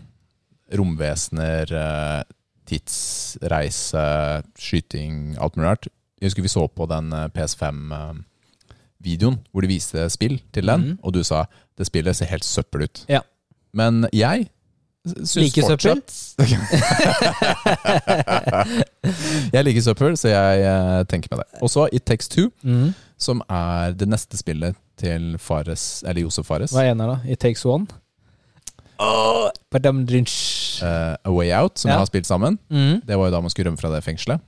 B: romvesener, eh, tidsreise, skyting, alt mulig rart. Jeg husker vi så på den eh, PS5-videoen eh, hvor de viste spill til den,
A: Mhm.
B: og du sa det spillet ser helt søppel ut.
A: Ja.
B: Men jeg syns
A: Liker søppel?
B: fortsatt Jeg liker søppel, så jeg eh, tenker med det. Og så It Takes Two,
A: Mm.
B: som er det neste spillet til Fares, eller Josef Fares.
A: Hva er ener, da? It Takes One? Åh, padamdrinch.
B: eh, A Way Out, som
A: Ja.
B: vi har spilt sammen.
A: Mm.
B: Det var jo da man skulle rømme fra det fengselet.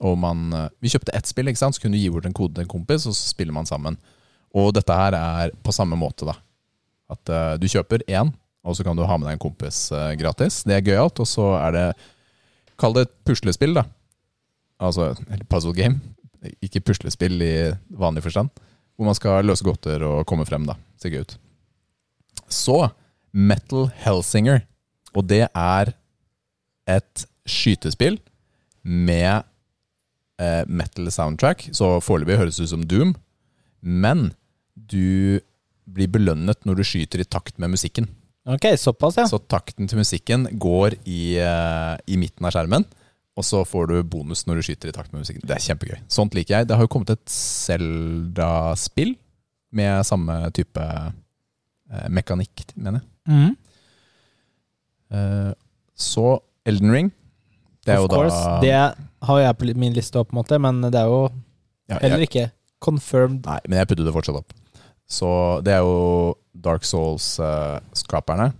B: Og man, eh, vi kjøpte ett spill, ikke sant? så kunne du gi bort en kode til en kompis, og så spiller man sammen. Og dette her er på samme måte, da. At eh, du kjøper én, og så kan du ha med deg en kompis eh, gratis. Det er gøyalt. Og så er det Kall det et puslespill, da. Altså eller puzzle game. Ikke puslespill i vanlig forstand. Hvor man skal løse gåter og komme frem, da. Ser gøy ut. Så Metal Hellsinger. Og det er et skytespill med eh, metal soundtrack, så foreløpig høres det ut som Doom. Men du blir belønnet når du skyter i takt med musikken.
A: Ok, såpass, ja.
B: Så takten til musikken går i, eh, i midten av skjermen, og så får du bonus når du skyter i takt med musikken. Det er kjempegøy. Sånt liker jeg. Det har jo kommet et Zelda-spill med samme type eh, mekanikk, mener jeg.
A: Mm.
B: Eh, så Elden Ring. Det er
A: of
B: jo da
A: course. Det har jeg på li- min liste, på en måte, men det er jo
B: Ja, jeg-
A: heller ikke confirmed.
B: Nei, men jeg putter det fortsatt opp. Så det er jo Dark Souls-skaperne.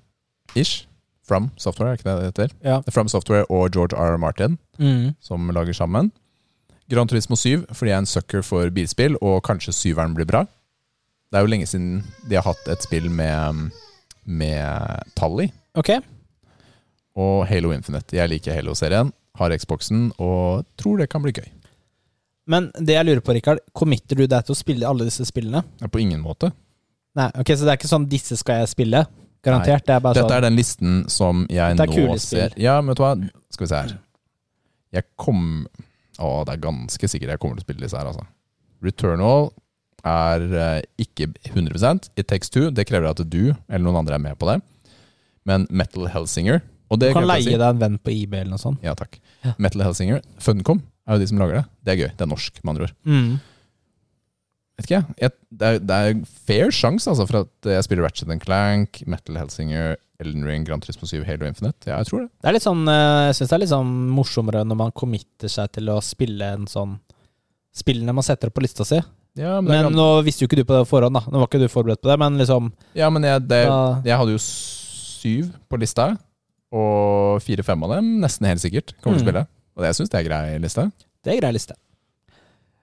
B: ish. From Software, er ikke det det heter?
A: Ja.
B: Det er From Software og George R. R. Martin
A: Mm.
B: som lager sammen. Gran Turismo 7, fordi jeg er en sucker for bilspill, og kanskje syveren blir bra. Det er jo lenge siden de har hatt et spill med, med tall i.
A: Ok.
B: Og Halo Infinite. Jeg liker Halo-serien, har Xboxen, og tror det kan bli gøy.
A: Men det jeg lurer på, Rikard, committer du deg til å spille alle disse spillene?
B: Ja, På ingen måte.
A: Nei, ok, Så det er ikke sånn 'disse skal jeg spille'? Garantert. Det er bare
B: Dette
A: sånn
B: er den listen som jeg
A: Dette er
B: nå
A: kule spill.
B: ser Ja, men vet du hva? Skal vi se her. Jeg kom Å, det er ganske sikkert jeg kommer til å spille disse her, altså. Returnal er eh, ikke 100 It Takes Two. Det krever at du eller noen andre er med på det. Men Metal Hellsinger og
A: Du
B: det
A: kan
B: glemte jeg å si.
A: leie deg en venn på eBay eller noe sånt.
B: Ja, takk.
A: Ja.
B: Metal Hellsinger. Funcom er jo de som lager det. Det er gøy. Det er norsk, med andre ord.
A: Mm.
B: Vet ikke jeg. jeg det, er, det er fair sjanse altså, for at jeg spiller Ratchet and Clank, Metal Hellsinger, Elden Ring, Grand Turismo 7, Halo Infinite. Ja, jeg tror det.
A: Det er litt sånn, eh, jeg syns det er litt sånn morsommere når man committer seg til å spille en sånn Spillene man setter opp på lista si.
B: Ja, men, det er
A: Men
B: gans-
A: nå visste jo ikke du på det forhånd, da. Nå var ikke du forberedt på det, men liksom
B: ja, men jeg, det,
A: da,
B: jeg hadde jo syv på lista, og fire-fem av dem nesten helt sikkert kommer
A: Mm.
B: til å spille. Og det- jeg syns det er grei liste.
A: Det er grei liste.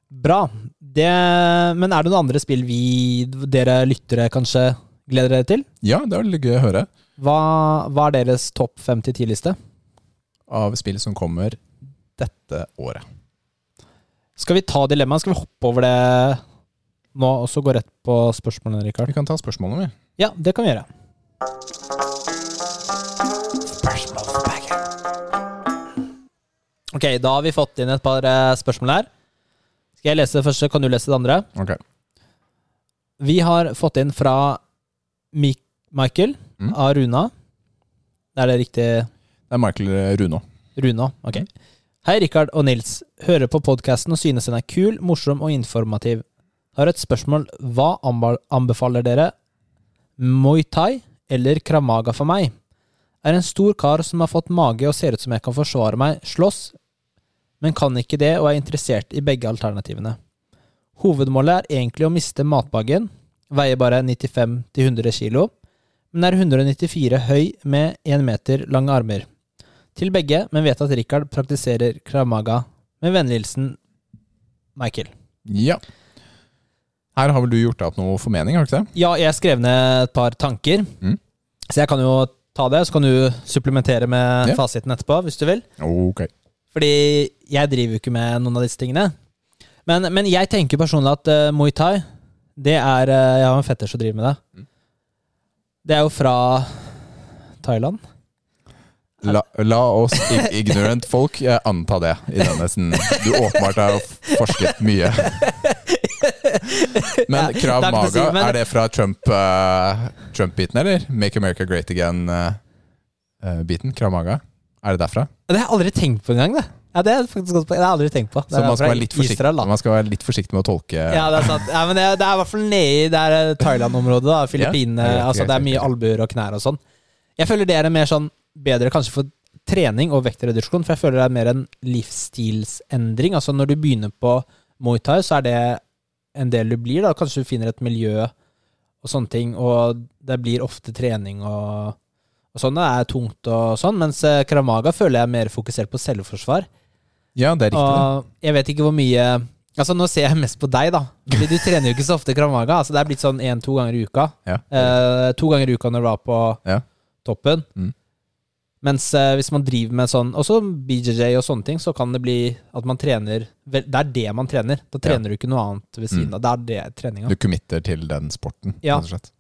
A: Bra. Det, men er det noen andre spill vi, dere lyttere, kanskje gleder dere til?
B: Ja, det var litt gøy å høre.
A: Hva, hva er deres topp fem til ti-liste?
B: Av spill som kommer dette året.
A: Skal vi ta dilemmaet? Skal vi hoppe over det nå, og så gå rett på spørsmålene, Rikard?
B: Vi kan ta spørsmålene, vi.
A: Ja, det kan vi gjøre. Ok, da har vi fått inn et par eh, spørsmål her. Skal jeg lese det første, kan du lese det andre?
B: Ok.
A: Vi har fått inn fra Mik Michael
B: Mm.
A: av Runa. Er det riktig?
B: Det er Michael Runo.
A: Runa, ok. Hei, Rikard og Nils. Hører på podkasten og synes den er kul, morsom og informativ. Har et spørsmål. Hva anba- anbefaler dere? Muay thai eller kramaga for meg? Er en stor kar som har fått mage og ser ut som jeg kan forsvare meg, slåss, men kan ikke det og er interessert i begge alternativene. Hovedmålet er egentlig å miste matbagen, veier bare 95-100 kilo, men er 194 høy med 1 meter lange armer til begge, men vet at Richard praktiserer kramaga. Med vennlig hilsen Michael.
B: Ja. Her har vel du gjort deg opp noe formening, har du ikke det?
A: Ja, jeg skrev ned et par tanker,
B: Mm.
A: så jeg kan jo ta det. Så kan du supplementere med
B: Ja.
A: fasiten etterpå, hvis du vil.
B: Ok.
A: Fordi jeg driver jo ikke med noen av disse tingene. Men, men jeg tenker personlig at eh, Muay Thai Det er eh, Jeg har en fetter som driver med det.
B: Mm.
A: Det er jo fra Thailand.
B: La, la oss ig- ignorant folk eh, anta det i denne siden Du åpenbart har forsket mye.
A: Ja,
B: Men Krav
A: det er ikke
B: Maga,
A: å si, men-
B: er det fra eh, Trump-biten, eller? Make America Great Again-biten? Krav Maga? Er det derfra?
A: Det har jeg aldri tenkt på engang. Det. Ja, det har jeg faktisk godt på. Det har jeg aldri tenkt på. Det
B: Så
A: er
B: man skal,
A: fra
B: være litt forsiktig,
A: Israel, da.
B: man skal være litt forsiktig med å tolke
A: Ja, det er sant. Ja, men det, det er i hvert fall nede i det er eh, Thailand-området. da, Filippinene.
B: Ja, ja, ja,
A: altså, det er mye
B: ja.
A: albuer og knær og sånn. Jeg føler det er en mer sånn bedre kanskje for trening og vektreduksjon, for jeg føler det er mer en livsstilsendring. Altså Når du begynner på Muay Thai, så er det en del du blir. da, Kanskje du finner et miljø og sånne ting, og det blir ofte trening og, og sånn, det er tungt og sånn, mens eh, Kramaga føler jeg er mer fokusert på selvforsvar.
B: Ja, det er riktig.
A: Og Ah, jeg vet ikke hvor mye Altså, nå ser jeg mest på deg, da. Fordi du trener jo ikke så ofte Kramaga. Altså, det er blitt sånn én-to ganger i uka.
B: det. Ja.
A: Eh, to ganger i uka når du var på
B: Ja.
A: toppen.
B: Mm.
A: Mens eh, hvis man driver med sånn Også BJJ og sånne ting, så kan det bli at man trener vel, Det er det man trener. Da trener du ikke noe annet ved siden
B: Mm.
A: av. Det er det treninga.
B: Du committer til den sporten,
A: Ja.
B: rett og slett.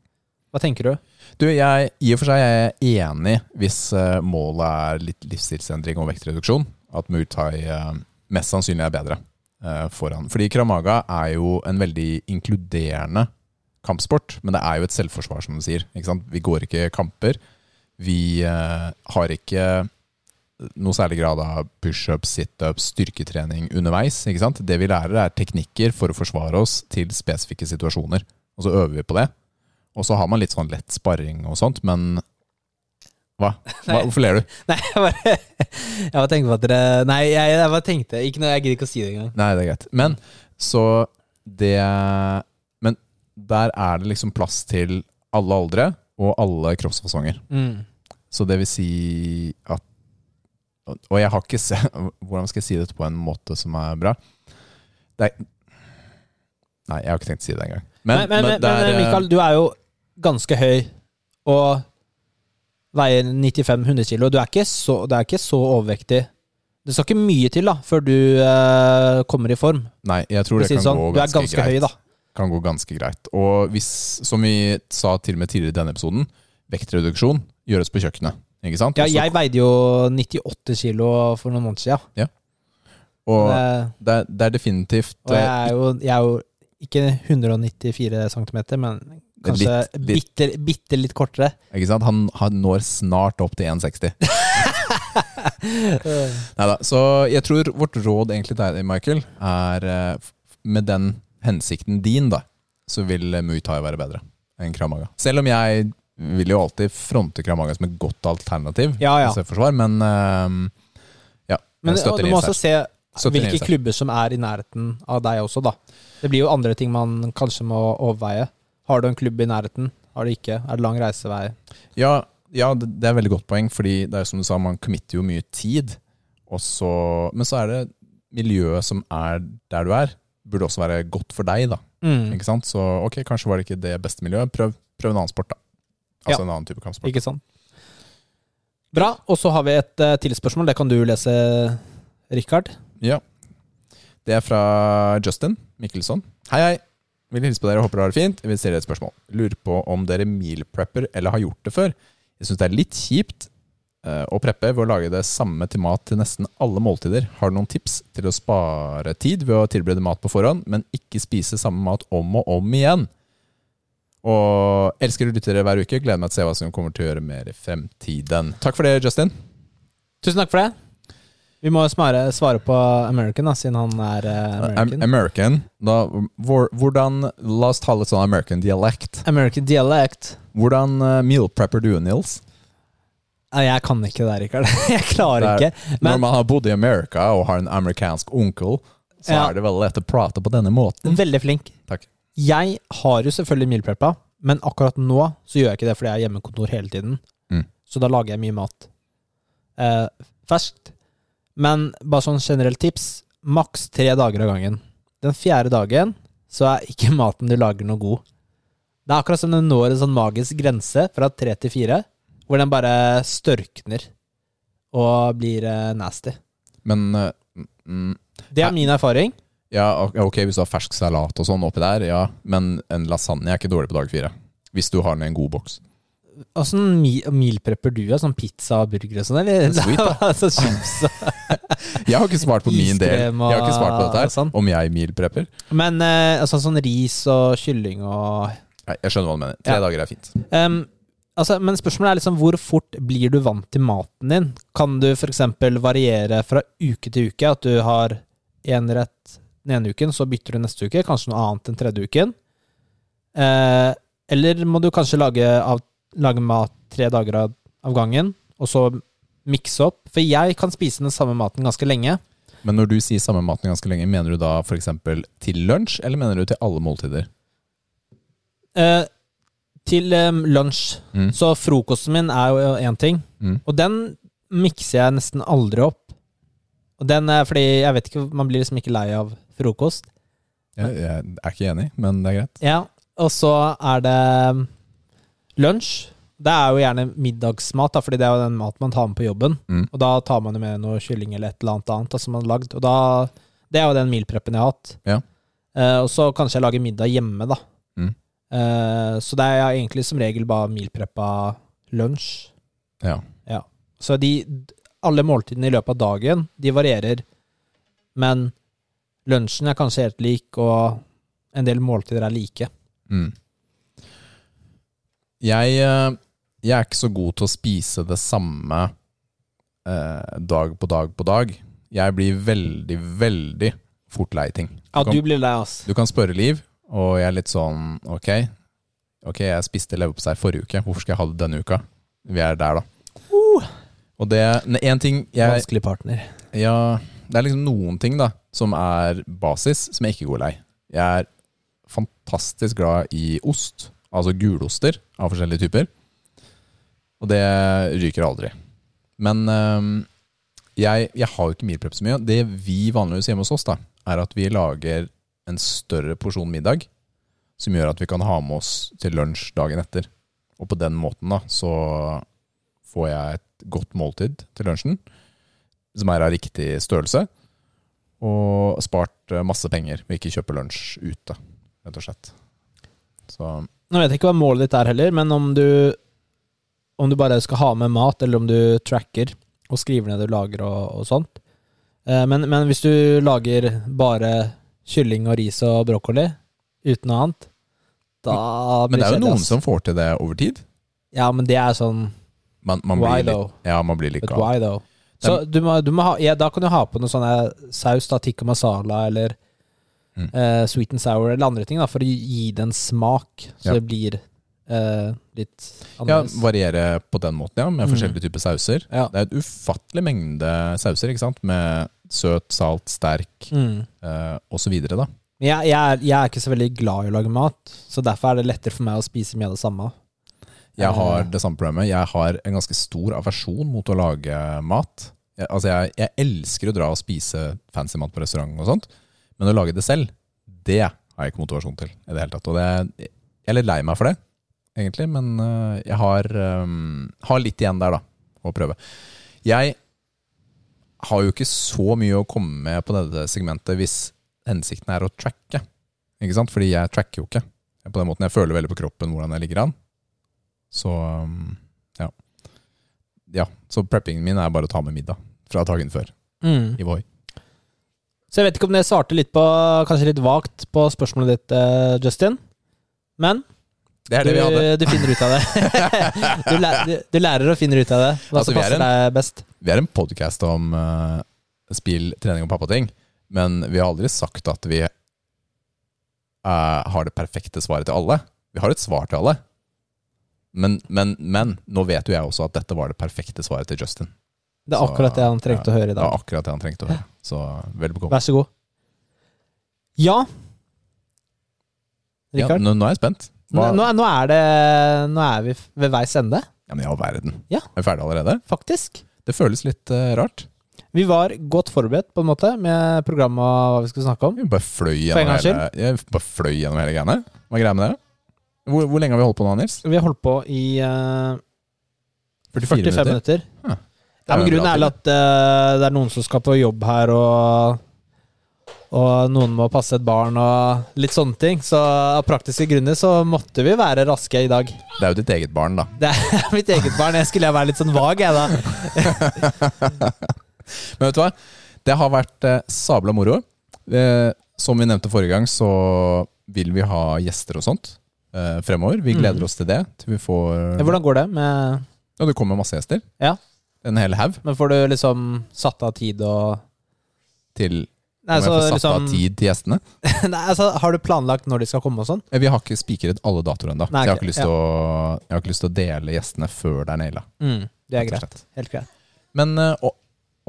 A: Hva tenker du?
B: Du, jeg, I og for seg er jeg enig hvis eh, målet er litt livsstilsendring og vektreduksjon. At Muay Thai eh, mest sannsynlig er bedre eh, foran. Fordi Kramaga er jo en veldig inkluderende kampsport, men det er jo et selvforsvar, som du sier. Ikke sant? Vi går ikke kamper. Vi eh, har ikke noe særlig grad av pushups, situps, styrketrening underveis. Ikke sant? Det vi lærer, er teknikker for å forsvare oss til spesifikke situasjoner. Og så øver vi på det. Og så har man litt sånn lett sparring og sånt, men Hva? Hva
A: Nei.
B: hvorfor ler du?
A: Nei, jeg bare, jeg bare tenkte på at dere Nei, jeg, jeg bare tenkte Ikke noe, Jeg gidder ikke å si det engang.
B: Nei, det er greit. Men så det Men der er det liksom plass til alle aldre og alle kroppsfasonger.
A: Mm.
B: Så det vil si at Og jeg har ikke se, Hvordan skal jeg si dette på en måte som er bra? Det er, nei, jeg har ikke tenkt å si det engang. Men,
A: Men, men, men,
B: det er,
A: men Mikael, du er jo ganske høy og veier 95-100 kilo. Du er, ikke så, du er ikke så overvektig. Det skal ikke mye til da, før du eh, kommer i form.
B: nei, jeg tror
A: for å
B: det
A: si
B: kan
A: det sånn.
B: gå
A: Du er
B: ganske,
A: ganske
B: greit.
A: høy, da.
B: Kan gå ganske greit. Og hvis, som vi sa til og med tidligere i denne episoden, vektreduksjon gjøres på kjøkkenet. Ikke sant?
A: Ja,
B: Og så-
A: jeg veide jo 98 kilo for noen måneder siden.
B: og det,
A: Eh,
B: er- det er definitivt
A: og jeg er, jo, jeg er jo ikke 194 cm, men kanskje
B: Litt- litt.
A: Bitte, bitte litt kortere.
B: eh, ikke sant? Han, han når snart opp til 1,60. Neida, så jeg tror vårt råd egentlig til deg, Michael, er eh, f- med den hensikten din, da, så vil eh, Muay Thai være bedre enn Kramaga. Selv om jeg vil jo alltid fronte Kramaga som et godt alternativ
A: Ja, ja.
B: til selvforsvar, men eh, ja,
A: Men
B: jeg
A: og
B: støtter
A: du må
B: Nils
A: også se
B: her. Støtter
A: hvilke
B: Nils her.
A: klubber som er i nærheten av deg også, da. Det blir jo andre ting man kanskje må overveie. Har du en klubb i nærheten? Har du ikke? Er det lang reisevei?
B: Ja, ja, det det er veldig godt poeng, fordi det er jo som du sa, man committer jo mye tid, og så, men så er det miljøet som er der du er, burde også være godt for deg, da.
A: Mm.
B: Ikke sant? Så ok, kanskje var det ikke det beste miljøet. Prøv, prøv en annen sport, da. Altså
A: Ja.
B: en annen type kampsport.
A: Ikke sant? Bra. Og så har vi et uh, til spørsmål. Det kan du lese, Rikard.
B: Ja. Det er fra Justin Mikkelsson. Hei, hei. Vil hilse på dere og håper dere har det fint. Jeg vil stille et spørsmål. Lurer på om dere meal prepper eller har gjort det før. Jeg syns det er litt kjipt eh, å preppe ved å lage det samme til mat til nesten alle måltider. Har du noen tips til å spare tid ved å tilberede mat på forhånd, men ikke spise samme mat om og om igjen? Og elsker å lytte til dere hver uke. Gleder meg til å se hva som kommer til å gjøre mer i fremtiden. Takk for det, Justin.
A: Tusen takk for det. Vi må smare, svare på American, da, siden han er eh,
B: American.
A: American.
B: American. Da, hvor, hvordan, la oss ta litt sånn American dialekt.
A: American dialect.
B: Hvordan eh, meal prepper du, Nils?
A: Nei, jeg kan ikke det, Rikard. Jeg klarer
B: Det er-
A: ikke.
B: Når
A: Men
B: man har bodd i Amerika og har en amerikansk onkel, så
A: Ja.
B: er det veldig lett å prate på denne måten.
A: veldig flink.
B: Takk.
A: Jeg har jo selvfølgelig mealpreppa, men akkurat nå så gjør jeg ikke det fordi jeg har hjemmekontor hele tiden.
B: Mm.
A: Så da lager jeg mye mat. Eh, ferskt. Men bare sånn generelt tips, maks tre dager av gangen. Den fjerde dagen så er ikke maten du lager noe god. Det er akkurat som den når en sånn magisk grense fra tre til fire, hvor den bare størkner og blir eh, nasty.
B: Men eh, mm,
A: Det er min erfaring.
B: ja, ok, ok, hvis du har fersk salat og sånn oppi der, ja. Men en lasagne er ikke dårlig på dag fire. Hvis du har den i en god boks.
A: Åssen sånn mi- mealprepper du? av? Sånn pizza og burger og sånn, eller?
B: Sweet, da.
A: sånn chips og
B: Jeg har ikke svart på min del. Jeg
A: Iskrem og
B: har ikke svart på dette her.
A: sånn.
B: Om jeg meal prepper?
A: Men eh, altså, sånn ris og kylling og
B: Nei, jeg skjønner hva du mener. Tre
A: Ja.
B: dager er fint.
A: Em, altså, Men spørsmålet er liksom hvor fort blir du vant til maten din? Kan du f.eks. variere fra uke til uke? At du har én rett den ene uken, så bytter du neste uke. Kanskje noe annet den tredje uken. Eh, eller må du kanskje lage, av, lage mat tre dager av, av gangen, og så mikse opp? For jeg kan spise den samme maten ganske lenge.
B: Men når du sier samme maten ganske lenge, mener du da f.eks. til lunsj, eller mener du til alle måltider?
A: Eh, Til em, lunsj.
B: Mm.
A: Så frokosten min er jo én ting,
B: Mm.
A: og den mikser jeg nesten aldri opp. Og den er fordi jeg vet ikke, man blir liksom ikke lei av frokost.
B: Jeg, jeg er ikke enig, men det er greit.
A: Ja, og så er det em, lunsj. Det er jo gjerne middagsmat, da, fordi det er jo den mat man tar med på jobben.
B: Mm.
A: Og da tar man jo med noe kylling eller et eller annet annet da, som man har lagd. Og da, det er jo den mealpreppen jeg har hatt.
B: Ja.
A: Eh, og så kanskje jeg lager middag hjemme, da.
B: Mm.
A: Eh, så det er jeg egentlig som regel bare mealpreppa lunsj.
B: Ja.
A: Så de, alle måltidene i løpet av dagen, de varierer. Men lunsjen er kanskje helt lik, og en del måltider er like.
B: Mm. Jeg, eh, jeg er ikke så god til å spise det samme eh, dag på dag på dag. Jeg blir veldig, veldig fort lei ting.
A: Ja,
B: kan-
A: du blir lei, ass.
B: Du kan spørre Liv, og jeg er litt sånn Ok, ok, jeg spiste leverpostei forrige uke, hvorfor skal jeg ha det denne uka? Vi er der, da.
A: Uh.
B: Og det Én ting jeg
A: Vanskelig partner.
B: ja, det er liksom noen ting da som er basis, som jeg ikke går lei. Jeg er fantastisk glad i ost, altså guloster av forskjellige typer. Og det ryker aldri. Men øhm, jeg, jeg har jo ikke mealprep så mye. Det vi vanligvis hjemme hos oss, da, er at vi lager en større porsjon middag som gjør at vi kan ha med oss til lunsj dagen etter. Og på den måten da, så får jeg et godt måltid til lunsjen som er av riktig størrelse. Og spart eh, masse penger ved ikke kjøpe lunsj ute, rett og slett. Så
A: Nå vet jeg ikke hva målet ditt er heller, men om du, om du bare skal ha med mat, eller om du tracker og skriver ned det du lager og, og sånt. Eh, Men, men hvis du lager bare kylling og ris og brokkoli uten noe annet, da blir
B: Men det er jo
A: kjedelig,
B: noen
A: ass.
B: som får til det over tid.
A: Ja, men det er sånn
B: Man, man
A: Why
B: blir
A: though?
B: litt, ja, man blir litt
A: But
B: gal.
A: why though? Så du må, du må ha, ja, da kan du ha på noe sånne saus, da, tikka masala eller
B: Mm.
A: eh, sweet and sour eller andre ting, da, for å gi det en smak, så
B: Ja.
A: det blir eh, litt
B: Ja,
A: annerledes.
B: variere på den måten, ja, med
A: Mm.
B: forskjellige typer sauser.
A: Ja.
B: Det er et ufattelig mengde sauser, ikke sant? Med søt, salt, sterk
A: Mm.
B: eh, og så videre, da.
A: Men jeg, jeg, er, jeg er ikke så veldig glad i å lage mat, så derfor er det lettere for meg å spise mye av det samme.
B: Jeg har
A: Eh.
B: det samme problemet. Jeg har en ganske stor aversjon mot å lage mat. Jeg, altså jeg, jeg elsker å dra og spise fancy mat på restaurant og sånt, men å lage det selv, det har jeg ikke motivasjon til i det hele tatt. Og det, jeg er litt lei meg for det, egentlig, men øh, jeg har, øhm, har litt igjen der, da, å prøve. Jeg har jo ikke så mye å komme med på dette segmentet hvis hensikten er å tracke. Ikke sant? Fordi jeg tracker jo ikke. På den måten jeg føler veldig på kroppen hvordan jeg ligger an. Så um, ja. ja. Så preppingen min er bare å ta med middag fra dagen før
A: Mm.
B: i Voi.
A: Så jeg vet ikke om det svarte litt på, kanskje litt vagt, på spørsmålet ditt, eh, Justin. Men
B: Det er
A: du,
B: det vi hadde.
A: du finner ut av det. du, læ- du, du lærer og finner ut av det. Hva
B: Altså,
A: som
B: vi er
A: passer deg best.
B: Vi er en podkast om eh, spill, trening og pappating, men vi har aldri sagt at vi eh, har det perfekte svaret til alle. Vi har et svar til alle. Men, men, men nå vet jo jeg også at dette var det perfekte svaret til Justin.
A: Det er
B: Så,
A: akkurat det han trengte å høre i
B: Det var
A: dag.
B: akkurat det han trengte å høre. Så vel bekomme.
A: Vær så god. Ja.
B: Ja,
A: Rikard,
B: nå, nå er jeg spent.
A: nå,
B: Hva?
A: nå, er- nå er det Nå er vi f- ved veis ende,
B: Ja, men i all verden.
A: Ja.
B: Er vi ferdige allerede?
A: faktisk.
B: Det føles litt eh, rart.
A: Vi var godt forberedt, på en måte, med programmet og hva vi skulle snakke om.
B: Vi bare fløy
A: en
B: gjennom
A: gangs
B: hele, jeg bare fløy gjennom hele greiene. Hva er greia med det? Hvor, hvor lenge har vi holdt på nå, Nils?
A: Vi har holdt på i eh, 45 minutter.
B: Ja.
A: Ja, men
B: Det er jo
A: grunnen
B: bra
A: er vel at eh, det er noen som skal på jobb her, og, og noen må passe et barn og litt sånne ting. Så av praktiske grunner så måtte vi være raske i dag.
B: Det er jo ditt eget barn, da.
A: Det er mitt eget barn. Jeg skulle være litt sånn vag, jeg, da.
B: Men vet du hva? Det har vært eh, sabla moro. Eh, som vi nevnte forrige gang, så vil vi ha gjester og sånt eh, fremover.
A: Mm.
B: Vi gleder oss til det. Til vi får
A: Hvordan går det? Med,
B: Ja, det kommer masse gjester.
A: Ja.
B: En hel haug.
A: men får du liksom satt av tid og
B: Til
A: Nei,
B: om jeg
A: så
B: får satt
A: liksom
B: av tid til gjestene.
A: Nei, altså, Har du planlagt når de skal komme og sånn?
B: Eh, Vi har ikke spikret alle datoer ennå. Så
A: Nei,
B: jeg har
A: ok,
B: ikke lyst til å- jeg har ikke lyst til å dele gjestene før det er naila.
A: Mm, det er
B: rett og
A: greit.
B: slett.
A: Helt greit.
B: Men eh, og-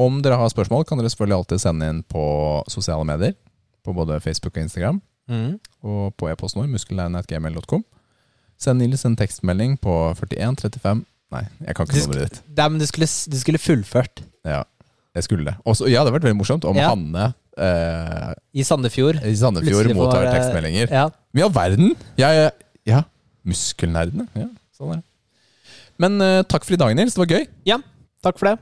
B: om dere har spørsmål, kan dere selvfølgelig alltid sende inn på sosiale medier. På både Facebook og Instagram,
A: Mm.
B: og på e-posten vår, muskelnæren.gmail.com. Send Nils en tekstmelding på 4135 Nei, jeg kan
A: Du
B: ikke
A: sk-
B: nummeret ditt.
A: Nei, men du skulle, s- du skulle fullført.
B: Ja, jeg skulle det. Også, ja, det hadde vært veldig morsomt om
A: Ja.
B: Hanne eh,
A: I Sandefjord.
B: i Sandefjord
A: Plutselig får,
B: mottar
A: eh,
B: tekstmeldinger.
A: Ja.
B: Men i all verden! Jeg, ja, muskelnerdene. Ja, sånn er det. Men eh, takk for i dag, Nils. Det var gøy.
A: ja, takk for det.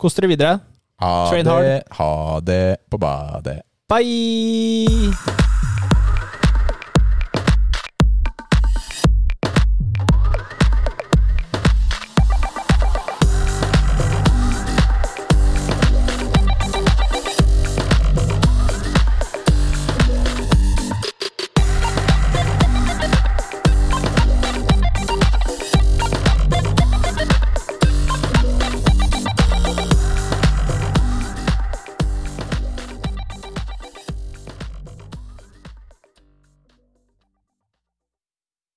A: Kos dere videre.
B: Ha
A: Train
B: det,
A: hard.
B: ha det på badet.
A: Bye!